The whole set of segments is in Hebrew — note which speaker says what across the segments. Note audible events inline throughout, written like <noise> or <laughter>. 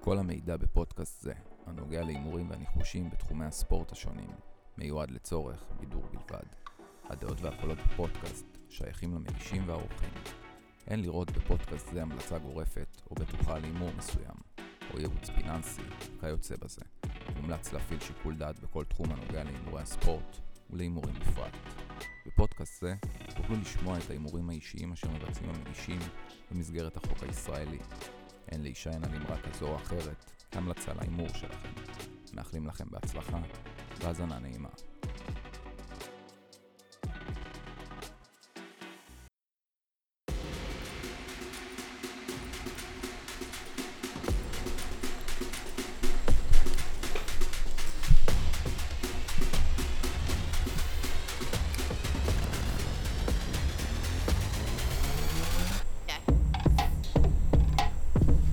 Speaker 1: כל המידע בפודקאסט זה, הנוגע להימורים והניחושים בתחומי הספורט השונים, מיועד לצורך בידור בלבד. הדעות והקולות בפודקאסט שייכים למגישים והאורחים. אין לראות בפודקאסט זה המלצה גורפת או בטוחה להימור מסוים, או ייעוץ פיננסי, כיוצא בזה. מומלץ להפעיל שיקול דעת בכל תחום הנוגע להימורי הספורט ולהימורים בפרט. בפודקאסט זה תוכלו לשמוע את ההימורים האישיים אשר מבצעים המגישים במסגרת החוק הישראלי. אין להישען על אמרה כזו או אחרת, המלצה להימור שלכם. מאחלים לכם בהצלחה והאזנה נעימה.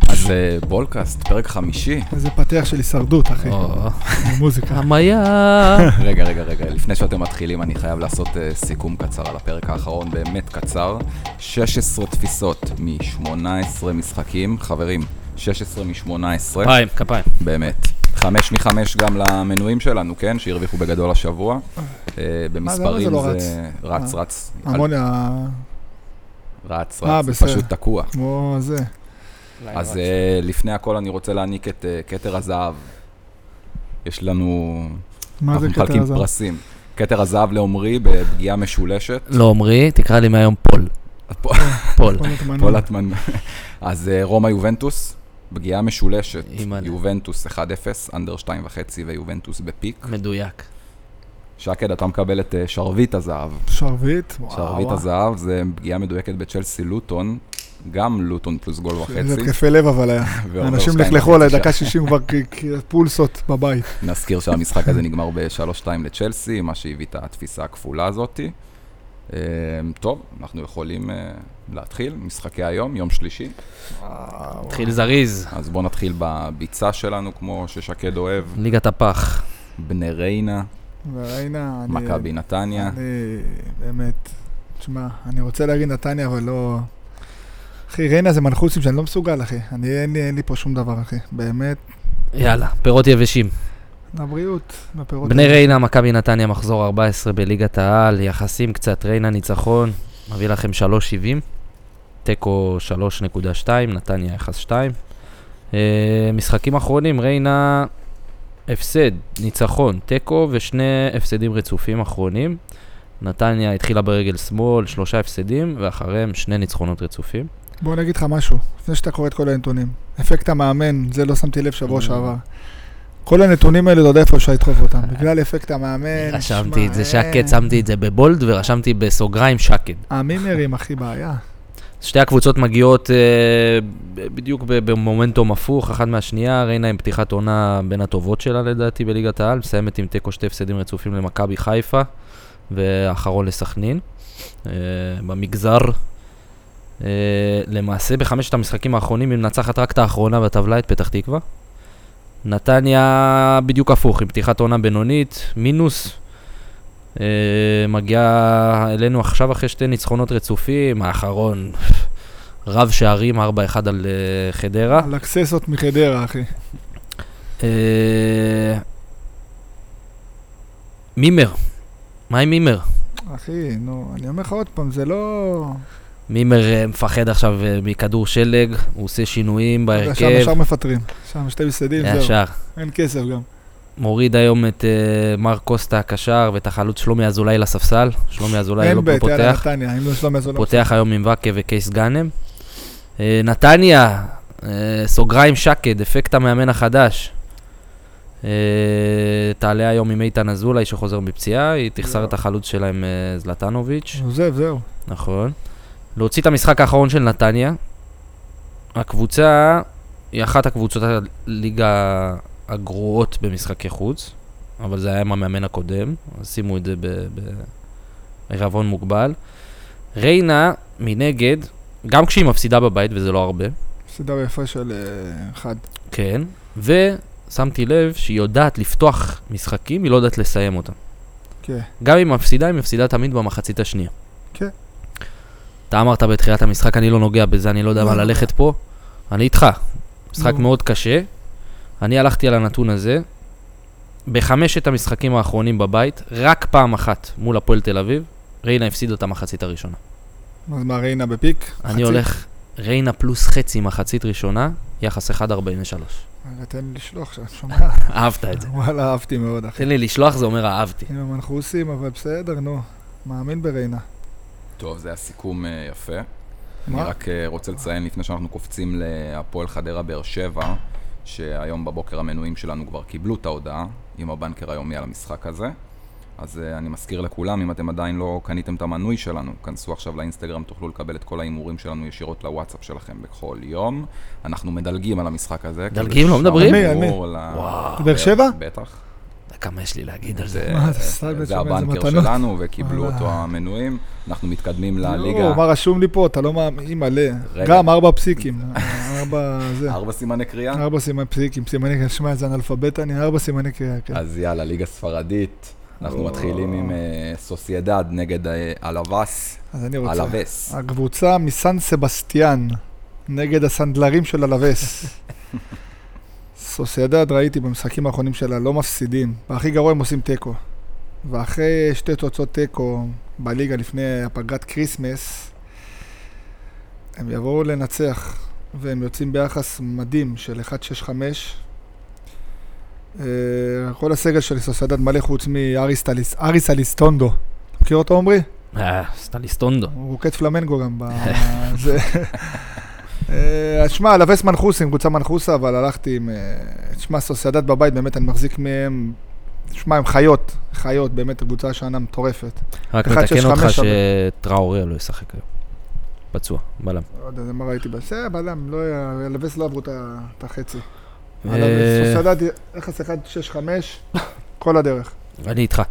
Speaker 1: אז אה, בולקאסט, פרק חמישי.
Speaker 2: איזה פתח של הישרדות, אחי.
Speaker 1: או,
Speaker 2: מוזיקה.
Speaker 3: כמה
Speaker 1: <laughs>
Speaker 3: היה?
Speaker 1: רגע, רגע, רגע, לפני שאתם מתחילים, אני חייב לעשות אה, סיכום קצר על הפרק האחרון, באמת קצר. 16 תפיסות מ-18 משחקים. חברים, 16 מ-18.
Speaker 3: כפיים, כפיים.
Speaker 1: באמת. חמש מחמש גם למנויים שלנו, כן? שהרוויחו בגדול השבוע. אה, במספרים
Speaker 2: לא רץ?
Speaker 1: זה רץ, רץ.
Speaker 2: המון אה, ה...
Speaker 1: רץ,
Speaker 2: אה,
Speaker 1: רץ, זה
Speaker 2: בסדר.
Speaker 1: פשוט תקוע.
Speaker 2: כמו זה.
Speaker 1: אז אה, לפני הכל אני רוצה להעניק את אה, כתר הזהב. יש לנו...
Speaker 2: מה זה
Speaker 1: אנחנו
Speaker 2: קטע הזה?
Speaker 1: מחלקים פרסים. כתר הזהב לעומרי בפגיעה משולשת.
Speaker 3: לא עמרי, תקרא לי מהיום פול.
Speaker 1: פול-
Speaker 3: פול.
Speaker 2: כל התמנים.
Speaker 1: פולטמן. <laughs> אז אה, רומא יובנטוס, פגיעה משולשת.
Speaker 3: אימא'לה.
Speaker 1: יובנטוס 1-0, אנדר 2.5 ויובנטוס בפיק.
Speaker 3: מדויק.
Speaker 1: שקד, אתה מקבל את אה, שרביט הזהב.
Speaker 2: שרביט? וואו.
Speaker 1: שרביט
Speaker 2: וואו.
Speaker 1: הזהב זה פגיעה מדויקת בצ'לסי לוטון, גם לוטון פלוס גול
Speaker 2: זה
Speaker 1: וחצי.
Speaker 2: התקפי לב אבל היה.
Speaker 1: ועוד
Speaker 2: אנשים
Speaker 1: שתיים
Speaker 2: לכלכו
Speaker 1: וחצי
Speaker 2: עליי דקה
Speaker 1: שעה.
Speaker 2: 60 כבר כ- כ- פולסות
Speaker 1: <laughs>
Speaker 2: בבית.
Speaker 1: נזכיר שהמשחק הזה נגמר ב-3-2 לצ'לסי, מה שהביא את התפיסה הכפולה הזאתי. אה, טוב, אנחנו יכולים אה, להתחיל, משחקי היום, יום שלישי.
Speaker 3: התחיל זריז.
Speaker 1: אז בואו נתחיל בביצה שלנו, כמו ששקד אוהב,
Speaker 3: ליגת הפח.
Speaker 1: בני ריינה,
Speaker 2: והנה, אני...
Speaker 1: מכבי נתניה.
Speaker 2: אני... באמת. תשמע, אני רוצה להגיד נתניה, אבל לא... אחי, ריינה זה מנחוסים שאני לא מסוגל, אחי. אני, אין לי, אין לי פה שום דבר, אחי. באמת.
Speaker 3: יאללה, פירות יבשים.
Speaker 2: לבריאות, בפירות.
Speaker 3: בני ריינה, מכבי נתניה, מחזור 14 בליגת העל, יחסים קצת, ריינה ניצחון, מביא לכם 3.70, תיקו 3.2, נתניה יחס 2. אה, משחקים אחרונים, ריינה הפסד, ניצחון, תיקו ושני הפסדים רצופים אחרונים. נתניה התחילה ברגל שמאל, שלושה הפסדים, ואחריהם שני ניצחונות רצופים.
Speaker 2: בוא אני אגיד לך משהו, לפני שאתה קורא את כל הנתונים. אפקט המאמן, זה לא שמתי לב שבוע
Speaker 3: Mm.
Speaker 2: שעבר. כל הנתונים האלה, אתה יודע איפה אפשר לדחוף אותם. בגלל אפקט המאמן.
Speaker 3: רשמתי
Speaker 2: שמע,
Speaker 3: אה. את זה
Speaker 2: אה,
Speaker 3: שקד, שמתי את זה בבולד ורשמתי בסוגריים שקד.
Speaker 2: המימרים, אחי, בעיה.
Speaker 3: שתי הקבוצות מגיעות אה, ב- בדיוק ב- במומנטום הפוך, אחת מהשנייה, ריינה עם פתיחת עונה בין הטובות שלה לדעתי בליגת העל, מסיימת עם תיקו שתי הפסדים רצופים למכבי חיפה, ואחרון לסכנין, אה, במגזר. אה, למעשה בחמשת המשחקים האחרונים היא מנצחת רק את האחרונה בטבלה, את פתח תקווה. נתניה בדיוק הפוך, עם פתיחת עונה בינונית, מינוס, אה, מגיעה אלינו עכשיו אחרי שתי ניצחונות רצופים, האחרון רב שערים 4-1 על אה, חדרה.
Speaker 2: לקססות מחדרה, אחי.
Speaker 3: אה, מימר, מה עם מימר?
Speaker 2: אחי, נו, אני אומר לך עוד פעם, זה לא...
Speaker 3: מימר אה, מפחד עכשיו אה, מכדור שלג, הוא עושה שינויים
Speaker 2: לא שם
Speaker 3: בהרכב.
Speaker 2: ישר מפטרים. שם שתי מסעדים, זהו.
Speaker 3: ישר.
Speaker 2: אין כסף גם.
Speaker 3: מוריד היום את אה, מר קוסטה הקשר ואת החלוץ שלומי אזולאי לספסל. שלומי אזולאי
Speaker 2: אין
Speaker 3: לא
Speaker 2: בית, יאללה,
Speaker 3: פותח.
Speaker 2: נתניה, אם לא שלומי אז לא...
Speaker 3: פותח היום עם ואקה וקייס גאנם. אה, נתניה, אה, סוגריים שקד, אפקט המאמן החדש. אה, תעלה היום עם איתן אזולאי שחוזר מפציעה, היא תחסר
Speaker 2: לא.
Speaker 3: את החלוץ שלהם אה, זלטנוביץ'.
Speaker 2: עוזב, זהו.
Speaker 3: נכון. להוציא את המשחק האחרון של נתניה. הקבוצה היא אחת הקבוצות הליגה הגרועות במשחקי חוץ, אבל זה היה עם המאמן הקודם, אז שימו את זה ב- בעירבון מוגבל. ריינה, מנגד, גם כשהיא מפסידה בבית, וזה לא הרבה,
Speaker 2: סדרה יפה של אה, אחד.
Speaker 3: כן, ושמתי לב שהיא יודעת לפתוח משחקים, היא לא יודעת לסיים אותם.
Speaker 2: כן.
Speaker 3: גם אם היא מפסידה, היא מפסידה תמיד במחצית השנייה.
Speaker 2: כן.
Speaker 3: אתה אמרת בתחילת המשחק, אני לא נוגע בזה, אני לא יודע
Speaker 2: לא
Speaker 3: מה
Speaker 2: נוגע.
Speaker 3: ללכת פה. אני איתך. משחק
Speaker 2: נו.
Speaker 3: מאוד קשה, אני הלכתי על הנתון הזה. בחמשת המשחקים האחרונים בבית, רק פעם אחת מול הפועל תל אביב, ריינה הפסידה את המחצית הראשונה.
Speaker 2: אז מה, ריינה בפיק?
Speaker 3: אני
Speaker 2: חצי?
Speaker 3: הולך ריינה פלוס חצי מחצית ראשונה, יחס 1.43.
Speaker 2: רגע, תן לי לשלוח שם, שומע?
Speaker 3: <laughs> אהבת את זה.
Speaker 2: <laughs> וואלה, אהבתי מאוד, אחי.
Speaker 3: תן לי לשלוח, זה אומר אהבתי.
Speaker 2: עם המנחוסים, אבל בסדר, נו. מאמין בריינה.
Speaker 1: טוב, זה היה סיכום אה, יפה. אני
Speaker 2: מה?
Speaker 1: רק אה, רוצה לציין לפני שאנחנו קופצים להפועל חדרה באר שבע, שהיום בבוקר המנויים שלנו כבר קיבלו את ההודעה עם הבנקר היומי על המשחק הזה. אז אה, אני מזכיר לכולם, אם אתם עדיין לא קניתם את המנוי שלנו, כנסו עכשיו לאינסטגרם, תוכלו לקבל את כל ההימורים שלנו ישירות לוואטסאפ שלכם בכל יום. אנחנו מדלגים על המשחק הזה. כי
Speaker 3: מדלגים? לא
Speaker 1: זה
Speaker 3: מדברים?
Speaker 2: על מי? על
Speaker 1: שמור ל-
Speaker 3: וואו.
Speaker 2: באר שבע?
Speaker 1: בטח.
Speaker 3: כמה יש לי להגיד על זה.
Speaker 1: זה-
Speaker 2: מה, אתה סתם
Speaker 1: אה, זה
Speaker 2: בעצם, איזה
Speaker 1: הבנקר
Speaker 2: מתנות.
Speaker 1: שלנו, וקיבלו
Speaker 2: וואלה.
Speaker 1: אותו המנויים. אנחנו מתקדמים
Speaker 2: לא,
Speaker 1: לליגה.
Speaker 2: מה רשום לי פה? אתה לא מאמין, אימא'לה.
Speaker 1: רגע.
Speaker 2: גם ארבע פסיקים. אה, ארבע זה. אה,
Speaker 1: ארבע סימני קריאה.
Speaker 2: ארבע סימני פסיקים, סימני קריאה, שמע, איזה אנאלפבית אני, ארבע סימני קריאה, כן.
Speaker 1: אז יאללה, ליגה ספרדית. אנחנו
Speaker 2: או.
Speaker 1: מתחילים עם אה, סוסיידד נגד אה, אלווס.
Speaker 2: אז אני רוצה.
Speaker 1: אלווס.
Speaker 2: הקבוצה מסן סבסטיאן, נגד הסנדלרים של הלווס. סוסיידד ראיתי במשחקים האחרונים שלה, לא מפסידים. והכי גרוע הם עושים תיקו. ואחרי שתי תוצאות תיקו בליגה לפני הפגרת כריסמס, הם יבואו לנצח, והם יוצאים ביחס מדהים של 1.65. אה, כל הסגל של סוסיידד מלא חוץ מאריס טליס- אריס אליסטונדו. מכיר אותו עמרי?
Speaker 3: אה, סטליסטונדו.
Speaker 2: הוא רוקד פלמנגו גם ב... <laughs> זה... אה, שמע, לבס מנחוסים, קבוצה מנחוסה, אבל הלכתי עם... אה, שמע, סוסיידד בבית, באמת, אני מחזיק מהם... שמע, הם חיות, חיות, באמת, קבוצה השנה מטורפת.
Speaker 3: רק
Speaker 2: אחד, שש,
Speaker 3: מתקן אותך
Speaker 2: חמש,
Speaker 3: שטראורי לא ישחק היום. פצוע, בלם.
Speaker 2: לא יודע, זה מה ראיתי ב... זה בלם, לא... היה- לבס לא עברו את ה- את החצי.
Speaker 3: אה,
Speaker 2: הלבס, סוסיידד, יחס 1-6-5, כל הדרך.
Speaker 3: אני איתך.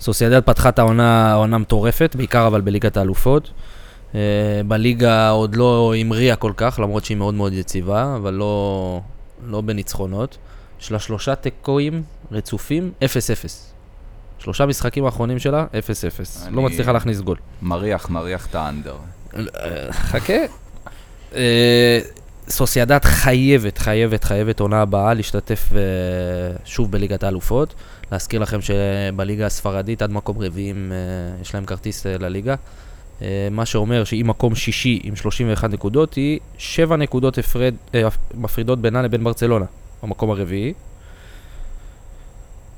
Speaker 3: סוסיידד פתחה את העונה, העונה מטורפת, בעיקר אבל בליגת האלופות. אה, בליגה עוד לא המריאה כל כך, למרות שהיא מאוד מאוד יציבה, אבל לא, לא בניצחונות. יש לה שלושה תיקואים רצופים, 0-0. שלושה משחקים האחרונים שלה, 0-0. לא
Speaker 1: אני-
Speaker 3: מצליחה להכניס גול.
Speaker 1: מריח, מריח את האנדר.
Speaker 3: אה, חכה. אה, סוסיידד חייבת, חייבת, חייבת עונה הבאה להשתתף אה, שוב בליגת האלופות. להזכיר לכם שבליגה הספרדית עד מקום רביעי אה, יש להם כרטיס אה, לליגה. אה, מה שאומר שהיא מקום שישי עם 31 נקודות, היא 7 נקודות הפרד, אה, מפרידות בינה לבין ברצלונה, במקום הרביעי.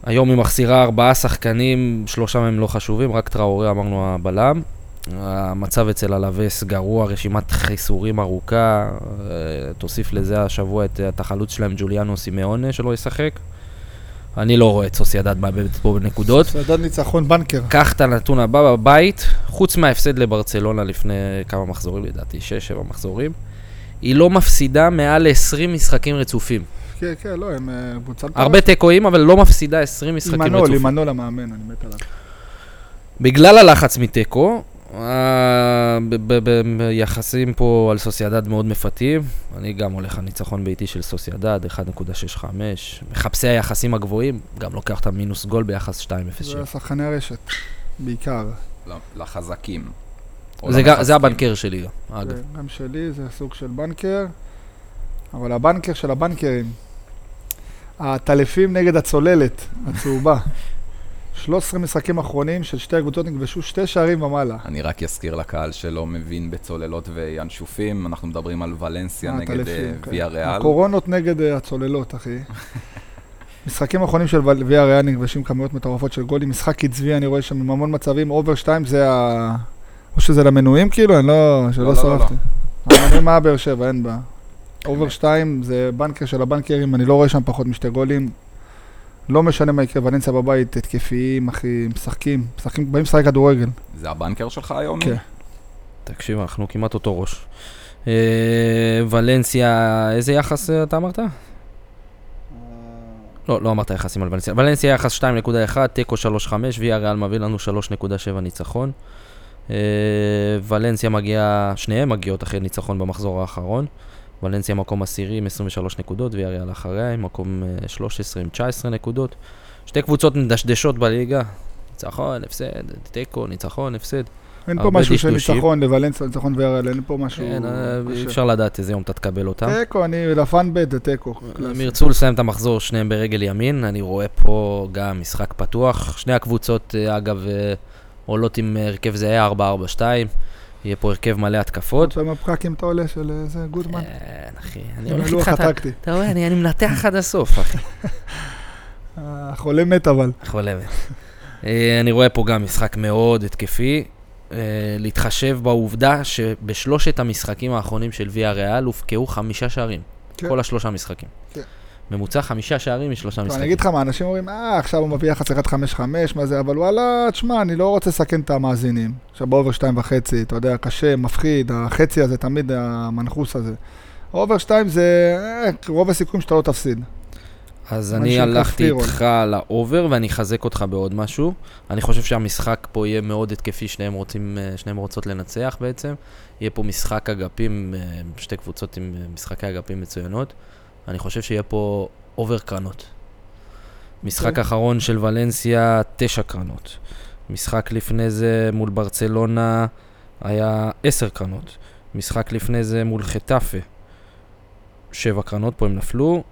Speaker 3: היום היא מחסירה ארבעה שחקנים, שלושה מהם לא חשובים, רק טראורי אמרנו הבלם. המצב אצל הלווס גרוע, רשימת חיסורים ארוכה, אה, תוסיף לזה השבוע את אה, את החלוץ שלהם ג'וליאנו סימאונה שלא ישחק. אני לא רואה את סוסיידד מאבדת פה בנקודות.
Speaker 2: סוסיידד ניצחון בנקר.
Speaker 3: קח את הנתון הבא בבית, חוץ מההפסד לברצלונה לפני כמה מחזורים, לדעתי 6-7 מחזורים, היא לא מפסידה מעל 20 משחקים רצופים.
Speaker 2: כן, כן, לא, הם אה, קבוצה...
Speaker 3: הרבה תיקואים, אבל לא מפסידה 20 משחקים
Speaker 2: משחקים רצופים.
Speaker 3: רצופים.
Speaker 2: עמנול המאמן, אני מת עליו.
Speaker 3: בגלל הלחץ מתיקו, אה, ב- ב- ב- יחסים פה על סוסיידד מאוד מפתים. אני גם הולך על ניצחון ביתי של סוסיידד, 1.65. מחפשי היחסים הגבוהים, גם לוקח את המינוס גול ביחס 2.07.
Speaker 2: זה שחקני הרשת, בעיקר.
Speaker 1: ל- לחזקים. או
Speaker 3: זה, גם, זה
Speaker 1: למחזקים.
Speaker 3: הבנקר שלי גם, אגב.
Speaker 2: כן, גם שלי זה סוג של בנקר, אבל הבנקר של הבנקרים. הטלפים נגד הצוללת, הצהובה. 13 משחקים אחרונים של שתי הקבוצות נכבשו שתי שערים ומעלה.
Speaker 1: אני רק אזכיר לקהל שלא מבין בצוללות וינשופים, אנחנו מדברים על ולנסיה
Speaker 2: אה,
Speaker 1: נגד
Speaker 2: הטלפים, כן.
Speaker 1: ויה ריאל.
Speaker 2: הקורונות נגד אה, הצוללות, אחי. משחקים אחרונים של ול- ויה ריאל נכבשים כמויות מטורפות של גולים. משחק קצבי, אני רואה שם עם המון מצבים, אובר 2 זה ה... או שזה למנויים כאילו, אני לא...
Speaker 1: לא,
Speaker 2: שלא
Speaker 1: לא,
Speaker 2: שרפתי. המנויים מה באר שבע, אין בעיה. אובר 2 זה בנקר של הבנקרים, אני לא רואה שם פחות משתי גולים. לא משנה מה יקרה, ולנסיה בבית, התקפיים, אחי, משחקים, משחקים, באים לשחק כדורגל.
Speaker 1: זה הבנקר שלך היום?
Speaker 2: כן.
Speaker 3: תקשיב, אנחנו כמעט אותו ראש. אה, ולנסיה, איזה יחס אה, אתה אמרת? לא, לא אמרת יחסים על ולנסיה. ולנסיה יחס 2.1, תיקו 3.5, ויה ריאל מביא לנו 3.7 ניצחון. אה, ולנסיה מגיעה, שניהם מגיעות אחרי ניצחון במחזור האחרון. ולנסיה מקום עשירי עם 23 נקודות, ויה ריאל אחריה עם מקום אה, 13 עם 19 נקודות. שתי קבוצות מדשדשות בליגה, ניצחון, הפסד, תיקו, ניצחון, הפסד.
Speaker 2: אין פה
Speaker 3: הרבה
Speaker 2: משהו של
Speaker 3: דשדושים.
Speaker 2: ניצחון לוולנסיה, ניצחון ויארל, אין פה משהו...
Speaker 3: כן, אה,
Speaker 2: קשה.
Speaker 3: אפשר לדעת איזה יום אתה תקבל אותם.
Speaker 2: תיקו, אני לפאן בית זה תיקו.
Speaker 3: הם
Speaker 2: קלאסי.
Speaker 3: ירצו לסיים את המחזור שניהם ברגל ימין, אני רואה פה גם משחק פתוח. שני הקבוצות, אה, אגב, אה, עולות עם אה, הרכב זהה 4-4-2, יהיה פה הרכב מלא התקפות.
Speaker 2: עכשיו עם הפקקים אתה עולה של אה, זה גודמן.
Speaker 3: כן, אחי, אני
Speaker 2: עם
Speaker 3: הולך
Speaker 2: הלוח
Speaker 3: איתך, אתה-
Speaker 2: הטקטי.
Speaker 3: אתה רואה, אני אני מנתח עד הסוף, אחי. <laughs>
Speaker 2: אה, החולה מת אבל.
Speaker 3: חולבת. אה, אני רואה פה גם משחק מאוד התקפי. אה, להתחשב בעובדה שבשלושת המשחקים האחרונים של ויה ריאל הובקעו חמישה שערים.
Speaker 2: כן.
Speaker 3: כל השלושה משחקים.
Speaker 2: כן.
Speaker 3: ממוצע חמישה שערים משלושה
Speaker 2: טוב,
Speaker 3: משחקים.
Speaker 2: אני אגיד לך מה, אנשים אומרים, אה, עכשיו הוא מביא יחס 1.55, מה זה, אבל וואלה, תשמע, אני לא רוצה לסכן את המאזינים. עכשיו באובר 2.5, אתה יודע, קשה, מפחיד, החצי הזה תמיד המנחוס הזה. אובר 2 זה אה, רוב הסיכויים שאתה לא תפסיד.
Speaker 3: אז
Speaker 2: מה
Speaker 3: אני
Speaker 2: שנקרא
Speaker 3: הלכתי
Speaker 2: free roll.
Speaker 3: איתך על האובר, ואני אחזק אותך בעוד משהו. אני חושב שהמשחק פה יהיה מאוד התקפי, שניהם רוצים, אה, שניהם רוצות לנצח בעצם. יהיה פה משחק אגפים, אה, שתי קבוצות עם אה, משחקי אגפים מצוינות. אני חושב שיהיה פה אובר קרנות. משחק
Speaker 2: אוקיי.
Speaker 3: אחרון של ולנסיה, תשע קרנות. משחק לפני זה מול ברצלונה היה עשר קרנות. משחק לפני זה מול חטאפה, שבע קרנות, פה הם נפלו.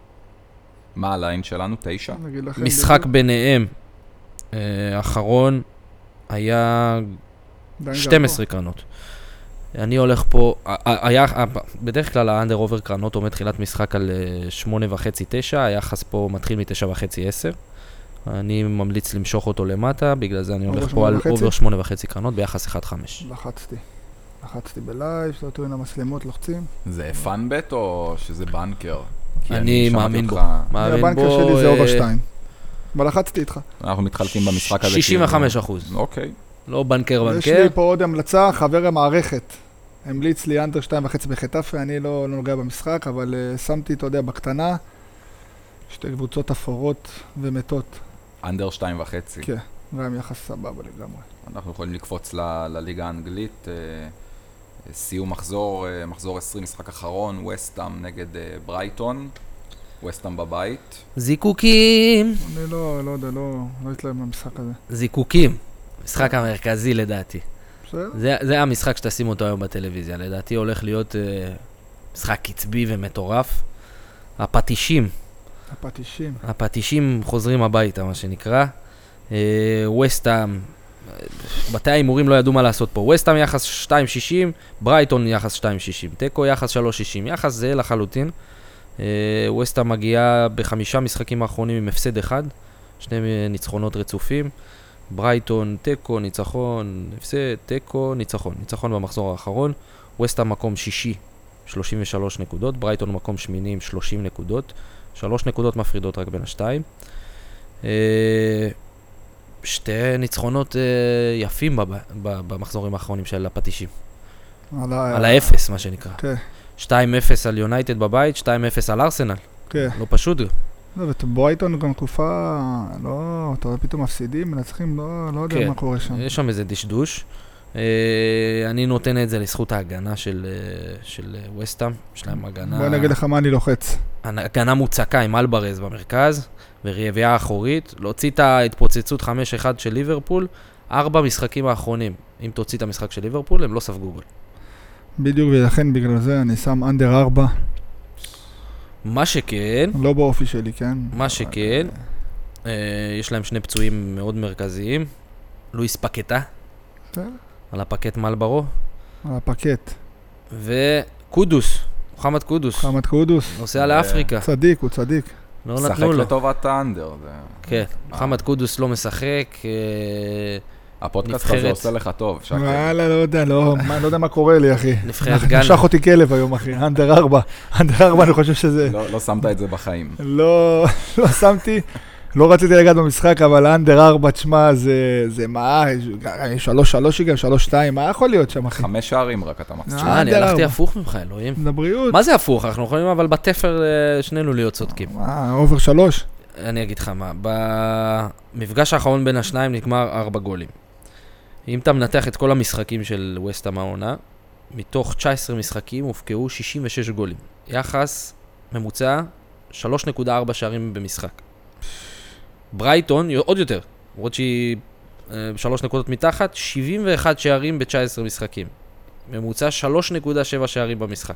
Speaker 1: מה הליין שלנו? תשע?
Speaker 2: אני אגיד לכם
Speaker 3: כן. משחק
Speaker 2: כן, בדיוק.
Speaker 3: ביניהם, אה, האחרון, היה
Speaker 2: דן גבוה.
Speaker 3: 12 קרנות. אני הולך פה, ה- ה- היה, ה- בדרך כלל האנדר אובר קרנות עומד תחילת משחק על אה, 8.5-9, היחס פה מתחיל מ-9.5-10. אני ממליץ למשוך אותו למטה, בגלל זה אני
Speaker 2: אובר
Speaker 3: הולך פה על
Speaker 2: 8.5?
Speaker 3: אובר 8.5 קרנות ביחס 1.5.
Speaker 2: לא. לחצתי. לחצתי בלייב, שלטו עם המצלמות, לוחצים.
Speaker 1: זה פאנבט או שזה בנקר? כי
Speaker 3: אני
Speaker 1: שמעתי
Speaker 3: מאמין
Speaker 1: אותך-
Speaker 3: מאמין
Speaker 2: הבנקר
Speaker 3: בו...
Speaker 2: שלי זה
Speaker 3: אה,
Speaker 2: אובר 2. אבל לחצתי איתך.
Speaker 1: אנחנו מתחלקים במשחק הזה.
Speaker 3: 65 אחוז,
Speaker 1: כאילו. אוקיי.
Speaker 3: לא בנקר
Speaker 2: יש
Speaker 3: בנקר.
Speaker 2: לי פה עוד המלצה, חבר המערכת. המליץ לי אנדר שתיים וחצי בחטאפה, אני לא, לא נוגע במשחק, אבל uh, שמתי, אתה יודע, בקטנה, שתי קבוצות אפורות ומתות,
Speaker 1: אנדר שתיים וחצי.
Speaker 2: כן. והם יחס סבבה לגמרי.
Speaker 1: אנחנו יכולים לקפוץ ל- לליגה האנגלית. אה, סיום מחזור, אה, מחזור 20, משחק אחרון, וסטאם נגד אה, ברייטון. וסטאם בבית.
Speaker 3: זיקוקים!
Speaker 2: אני לא, לא יודע, לא, לא אתלהב במשחק הזה.
Speaker 3: זיקוקים. המשחק המרכזי לדעתי.
Speaker 2: בסדר?
Speaker 3: זה, זה המשחק שתשים אותו היום בטלוויזיה. לדעתי הולך להיות אה, משחק קצבי ומטורף. הפטישים,
Speaker 2: הפטישים.
Speaker 3: הפטישים חוזרים הביתה, מה שנקרא. אה, וסטאם, אה, בתי ההימורים לא ידעו מה לעשות פה. וסטאם יחס 2.60, ברייטון יחס 2.60, תיקו יחס 3.60, יחס זהה לחלוטין. אה, וסטאם מגיעה בחמישה משחקים האחרונים עם הפסד אחד, שני אה, ניצחונות רצופים. ברייטון, תיקו, ניצחון, הפסד, תיקו, ניצחון. ניצחון במחזור האחרון. וסטאם מקום שישי, 33 נקודות. ברייטון מקום שמיני עם 30 נקודות. שלוש נקודות מפרידות רק בין השתיים. אה, שתי ניצחונות אה, יפים בב- ב- במחזורים האחרונים של הפטישים.
Speaker 2: על,
Speaker 3: על האפס, מה שנקרא.
Speaker 2: אה. כן.
Speaker 3: 2-0 על יונייטד בבית, 2-0 על ארסנל.
Speaker 2: כן.
Speaker 3: לא פשוט. גם.
Speaker 2: לא, וברייטון גם תקופה, לא, אתה רואה פתאום מפסידים, מנצחים, לא, לא יודע
Speaker 3: כן.
Speaker 2: מה קורה שם.
Speaker 3: יש שם איזה דשדוש. אה, אני נותן את זה לזכות ההגנה של, אה, של אה, וסטאם. יש להם הגנה...
Speaker 2: בוא אני אגיד לך מה אני לוחץ.
Speaker 3: הגנה מוצקה עם אלברז במרכז, ורביעייה אחורית. להוציא את ההתפוצצות 5-1 של ליברפול, ארבע משחקים האחרונים. אם תוציא את המשחק של ליברפול, הם לא ספגו גול.
Speaker 2: בדיוק, ולכן בגלל זה אני שם אנדר 4,
Speaker 3: מה שכן,
Speaker 2: לא באופי שלי, כן?
Speaker 3: מה שכן, אה, יש להם שני פצועים מאוד מרכזיים. לואיס פקטה,
Speaker 2: בסדר.
Speaker 3: על הפקט מלברו,
Speaker 2: על הפקט.
Speaker 3: וקודוס, מוחמד קודוס,
Speaker 2: חמד קודוס,
Speaker 3: נוסע לאפריקה.
Speaker 2: צדיק, הוא צדיק.
Speaker 3: לא
Speaker 1: שחק
Speaker 3: נתנו לו.
Speaker 1: לטובת האנדר. זה-
Speaker 3: כן, מוחמד קודוס לא משחק. אה,
Speaker 1: הפודקאסט הזה
Speaker 3: נבחרת.
Speaker 1: עושה לך טוב. שקל.
Speaker 2: וואלה, לא יודע, לא מה- לא יודע מה קורה לי, אחי.
Speaker 3: נבחרת
Speaker 2: נשך
Speaker 3: גאנה.
Speaker 2: אותי כלב היום, אחי, אנדר 4. אנדר 4, אני חושב שזה...
Speaker 1: לא לא שמת את זה בחיים.
Speaker 2: לא, לא שמתי. לא רציתי לגעת במשחק, אבל אנדר 4, תשמע, זה, זה מה, 3-3 גם, 3-2, מה יכול להיות שם, אחי?
Speaker 1: חמש שערים רק אתה מחזיר.
Speaker 3: אה, אני
Speaker 2: אנדר
Speaker 3: הלכתי
Speaker 2: ארבע.
Speaker 3: הפוך ממך, אלוהים.
Speaker 2: לבריאות.
Speaker 3: מה זה הפוך? אנחנו יכולים אבל בתפר אה, שנינו להיות צודקים.
Speaker 2: מה, אובר 3?
Speaker 3: אני אגיד לך מה, במפגש האחרון בין השניים נגמר ארבע גולים. אם אתה מנתח את כל המשחקים של וסטהאם העונה, מתוך 19 משחקים הובקעו 66 גולים. יחס ממוצע 3.4 שערים במשחק. ברייטון, עוד יותר, למרות שהיא אה, שלוש נקודות מתחת, 71 שערים ב-19 משחקים. ממוצע 3.7 שערים במשחק.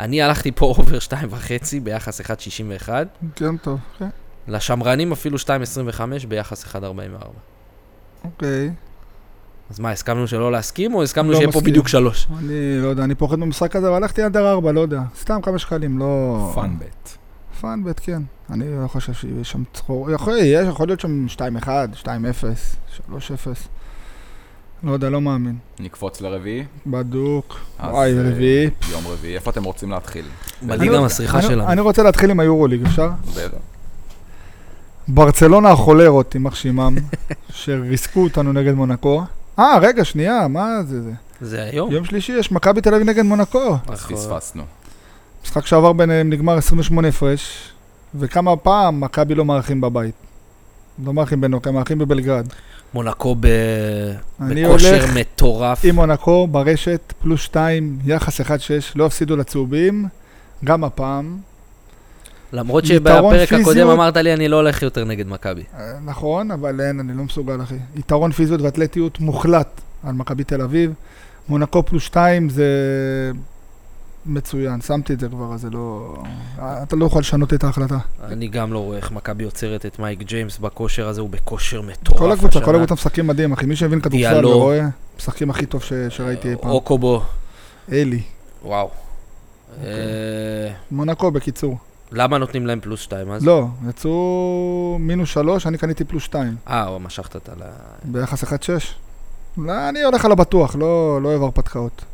Speaker 3: אני הלכתי פה <laughs> אובר 2.5 ביחס 1.61,
Speaker 2: כן, טוב, כן,
Speaker 3: לשמרנים אפילו 2.25 ביחס 1.44.
Speaker 2: אוקיי.
Speaker 3: אז מה, הסכמנו שלא להסכים, או הסכמנו
Speaker 2: לא
Speaker 3: שיהיה פה
Speaker 2: מסכים.
Speaker 3: בדיוק שלוש?
Speaker 2: אני לא יודע, אני פוחד במשחק הזה, אבל הלכתי עד ארבע, לא יודע. סתם כמה שקלים, לא...
Speaker 1: פאנבט.
Speaker 2: פאנבט, כן. אני לא חושב שיהיה שם צחור. יכול, יש, יכול להיות שם 2-1, 2-0, 3-0. לא יודע, לא מאמין.
Speaker 1: נקפוץ לרביעי.
Speaker 2: בדוק.
Speaker 1: אז,
Speaker 2: וואי,
Speaker 1: אה,
Speaker 2: רביעי.
Speaker 1: יום רביעי. איפה אתם רוצים להתחיל?
Speaker 3: בליגה המסריחה
Speaker 2: אני, לא-
Speaker 3: שלנו.
Speaker 2: אני רוצה להתחיל עם היורוליג, אפשר?
Speaker 1: בטח.
Speaker 2: ברצלונה החולרות, יימח
Speaker 3: <laughs>
Speaker 2: שמם, שריסקו אותנו נגד מונקו. אה, רגע, שנייה, מה זה זה?
Speaker 3: זה היום.
Speaker 2: יום שלישי יש מכבי תל אביב נגד מונקו.
Speaker 1: אז
Speaker 3: נכון.
Speaker 1: פספסנו.
Speaker 2: משחק שעבר ביניהם נגמר 28 הפרש, וכמה פעם מכבי לא מארחים בבית. לא מארחים בנוקה, מארחים בבלגרד.
Speaker 3: מונקו ב...
Speaker 2: אני
Speaker 3: בכושר
Speaker 2: הולך
Speaker 3: מטורף.
Speaker 2: עם מונקו ברשת, פלוס 2, יחס 1-6, לא הפסידו לצהובים, גם הפעם.
Speaker 3: למרות
Speaker 2: יתרון
Speaker 3: שבפרק
Speaker 2: פיזיות.
Speaker 3: הקודם אמרת לי, אני לא הולך יותר נגד מכבי.
Speaker 2: אה, נכון, אבל אין, אני לא מסוגל, אחי. יתרון פיזיות ואתלטיות מוחלט על מכבי תל אביב. מונקו פלוס 2 זה מצוין, שמתי את זה כבר, אז זה לא... אה, אתה לא יכול לשנות את ההחלטה.
Speaker 3: אני גם לא רואה איך מכבי עוצרת את מייק ג'יימס בכושר הזה, הוא בכושר מטורף.
Speaker 2: כל הקבוצה,
Speaker 3: השנה. לא.
Speaker 2: כל הקבוצה משחקים מדהים, אחי. מי שהבין כדורסל
Speaker 3: דיאלו.
Speaker 2: ורואה, משחקים הכי טוב ש- שראיתי אי פעם.
Speaker 3: אוקובו, אוקיי.
Speaker 2: אלי.
Speaker 3: וואו.
Speaker 2: אוקיי.
Speaker 3: אה,
Speaker 2: מונקו בקיצור.
Speaker 3: למה נותנים להם פלוס שתיים אז?
Speaker 2: לא, יצאו מינוס 3, אני קניתי פלוס 2.
Speaker 3: אה, או, משכת את ה... ל-
Speaker 2: ביחס 1-6. לא, אני הולך על הבטוח, לא לא אוהב הרפתקאות.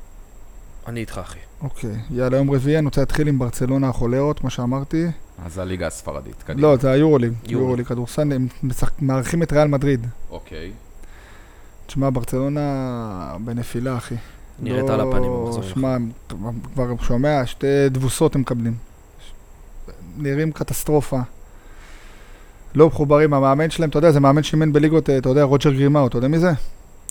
Speaker 3: אני איתך, אחי.
Speaker 2: אוקיי, יאללה, יום רביעי, אני רוצה להתחיל עם ברצלונה החולרות, כמו שאמרתי.
Speaker 1: אז הליגה הספרדית. קדימה.
Speaker 2: לא, זה היורוליג.
Speaker 3: יורוליג.
Speaker 2: יורוליג כדורסל, הם משחק- מארחים את ריאל מדריד.
Speaker 1: אוקיי.
Speaker 2: תשמע, ברצלונה בנפילה, אחי.
Speaker 3: נראית
Speaker 2: לא-
Speaker 3: על הפנים במחזור.
Speaker 2: שמע, הם כבר שומע, שתי תבוסות הם מקבלים. נראים קטסטרופה. לא מחוברים, המאמן שלהם, אתה יודע, זה מאמן שאימן בליגות, אה, אתה יודע, רוג'ר גרימאו, אתה יודע מי זה?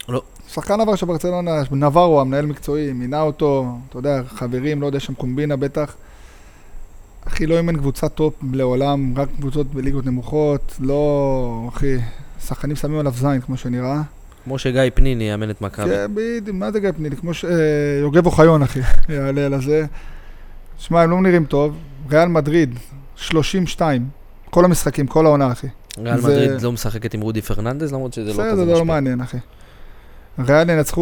Speaker 3: לא.
Speaker 2: שחקן עבר של ברצלונה, נברו, המנהל מקצועי, מינה אותו, אתה יודע, חברים, לא יודע, שם קומבינה בטח. אחי, לא אימן קבוצת טופ לעולם, רק קבוצות בליגות נמוכות, לא, אחי, שחקנים שמים עליו זין, כמו שנראה.
Speaker 3: כמו שגיא פניני יאמן את מכבי.
Speaker 2: כן, בדיוק, מה זה גיא פניני? כמו ש... אה, יוגב אוחיון, אחי, <laughs> יעלה על הזה. שמע, הם לא נראים טוב. ריאל מדריד, 32. כל המשחקים, כל העונה, אחי.
Speaker 3: ריאל
Speaker 2: זה-
Speaker 3: מדריד לא משחקת עם רודי פרננדז, למרות שזה לא כזה
Speaker 2: בסדר,
Speaker 3: משפיע.
Speaker 2: זה לא מעניין, אחי. ריאל ינצחו,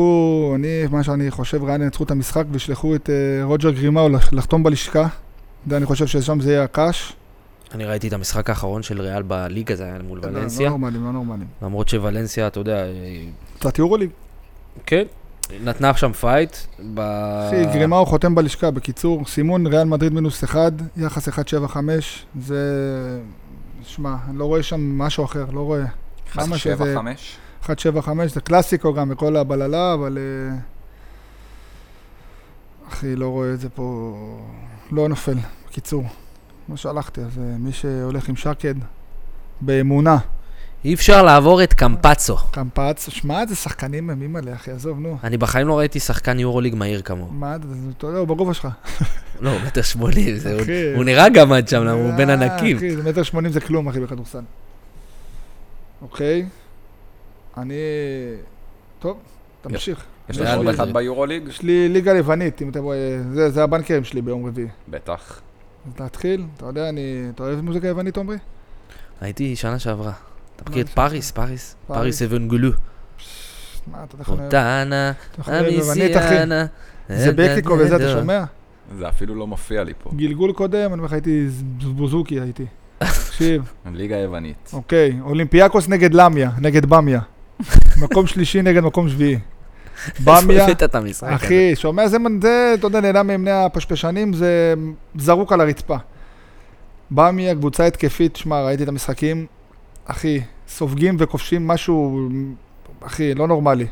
Speaker 2: אני, מה שאני חושב, ריאל ינצחו את המשחק וישלחו את אה, רוג'ר גרימאו לח- לחתום בלשכה. זה, אני חושב ששם זה יהיה הקש.
Speaker 3: אני ראיתי את המשחק האחרון של ריאל בליגה, זה היה מול
Speaker 2: לא
Speaker 3: ולנסיה.
Speaker 2: נורמלים, לא נורמלים.
Speaker 3: למרות שוולנסיה, אתה יודע, היא-
Speaker 2: קצת יורוליג.
Speaker 3: כן, נתנה שם פייט. ב...
Speaker 2: אחי,
Speaker 3: אה.
Speaker 2: גרימאו חותם בלשכה, בקיצור, סימון ריאל מדריד מינוס 1, יחס 1.75, זה... שמע, אני לא רואה שם משהו אחר, לא רואה.
Speaker 1: אחד,
Speaker 2: למה
Speaker 1: שבע,
Speaker 2: שזה-
Speaker 1: חמש?
Speaker 2: 1.75 זה קלאסיקו גם וכל הבללה, אבל... אה, אחי, לא רואה את זה פה... לא נופל, בקיצור. כמו שהלכתי, אז אה, מי שהולך עם שקד, באמונה,
Speaker 3: אי אפשר לעבור את קמפצו.
Speaker 2: קמפץ, שמע, איזה שחקנים הם, אימא'לה, אחי, עזוב, נו.
Speaker 3: אני בחיים לא ראיתי שחקן יורוליג מהיר כמוהו.
Speaker 2: מה, זה- זה- אתה יודע, הוא בגובה שלך.
Speaker 3: לא, הוא מטר שמונים, זה עוד...
Speaker 2: אחי.
Speaker 3: הוא נראה גם עד שם, למה הוא בין
Speaker 2: אה,
Speaker 3: ענקים.
Speaker 2: אחי, זה מטר שמונים זה כלום, אחי, בכדורסל. אוקיי, אני... טוב, תמשיך.
Speaker 1: יש
Speaker 2: יש
Speaker 1: לנו עוד
Speaker 2: לי-
Speaker 1: אחד ביורוליג?
Speaker 2: יש לי ליגה לבנית, אם אתם רואים, זה- זה הבנקרים שלי ביום רביעי.
Speaker 1: בטח.
Speaker 2: אז להתחיל, אתה יודע, אני... אתה אוהב מוזיקה יוונית, עומרי?
Speaker 3: הייתי שנה שעברה. אתה מכיר את
Speaker 2: שנה
Speaker 3: פאריס, פאריס?
Speaker 2: פאריס.
Speaker 3: פאריס אבנגולו.
Speaker 2: מה, אתה יודע איך אני אוהב-
Speaker 3: פונטנה,
Speaker 2: אתה יכול לאהוב יוונית, אחי?
Speaker 3: אמיסיאנה. אה,
Speaker 2: זה בקיקו וזה, אתה שומע?
Speaker 1: זה אפילו לא מופיע לי פה.
Speaker 2: גלגול קודם, אני אומר לך, הייתי ז- בוזוקי, הייתי. תקשיב,
Speaker 1: ליגה יוונית.
Speaker 2: אוקיי, אולימפיאקוס נגד למיה, נגד במיה. מקום שלישי נגד מקום שביעי.
Speaker 3: איפה
Speaker 2: במיה...
Speaker 3: הבאת את המשחק הזה?
Speaker 2: אחי, שומע, זה, מנ- זה, אתה יודע, נהנה מימני הפשפשנים, זה זרוק על הרצפה. בא מהקבוצה התקפית, שמע, ראיתי את המשחקים, אחי, סופגים וכובשים משהו, אחי, לא נורמלי.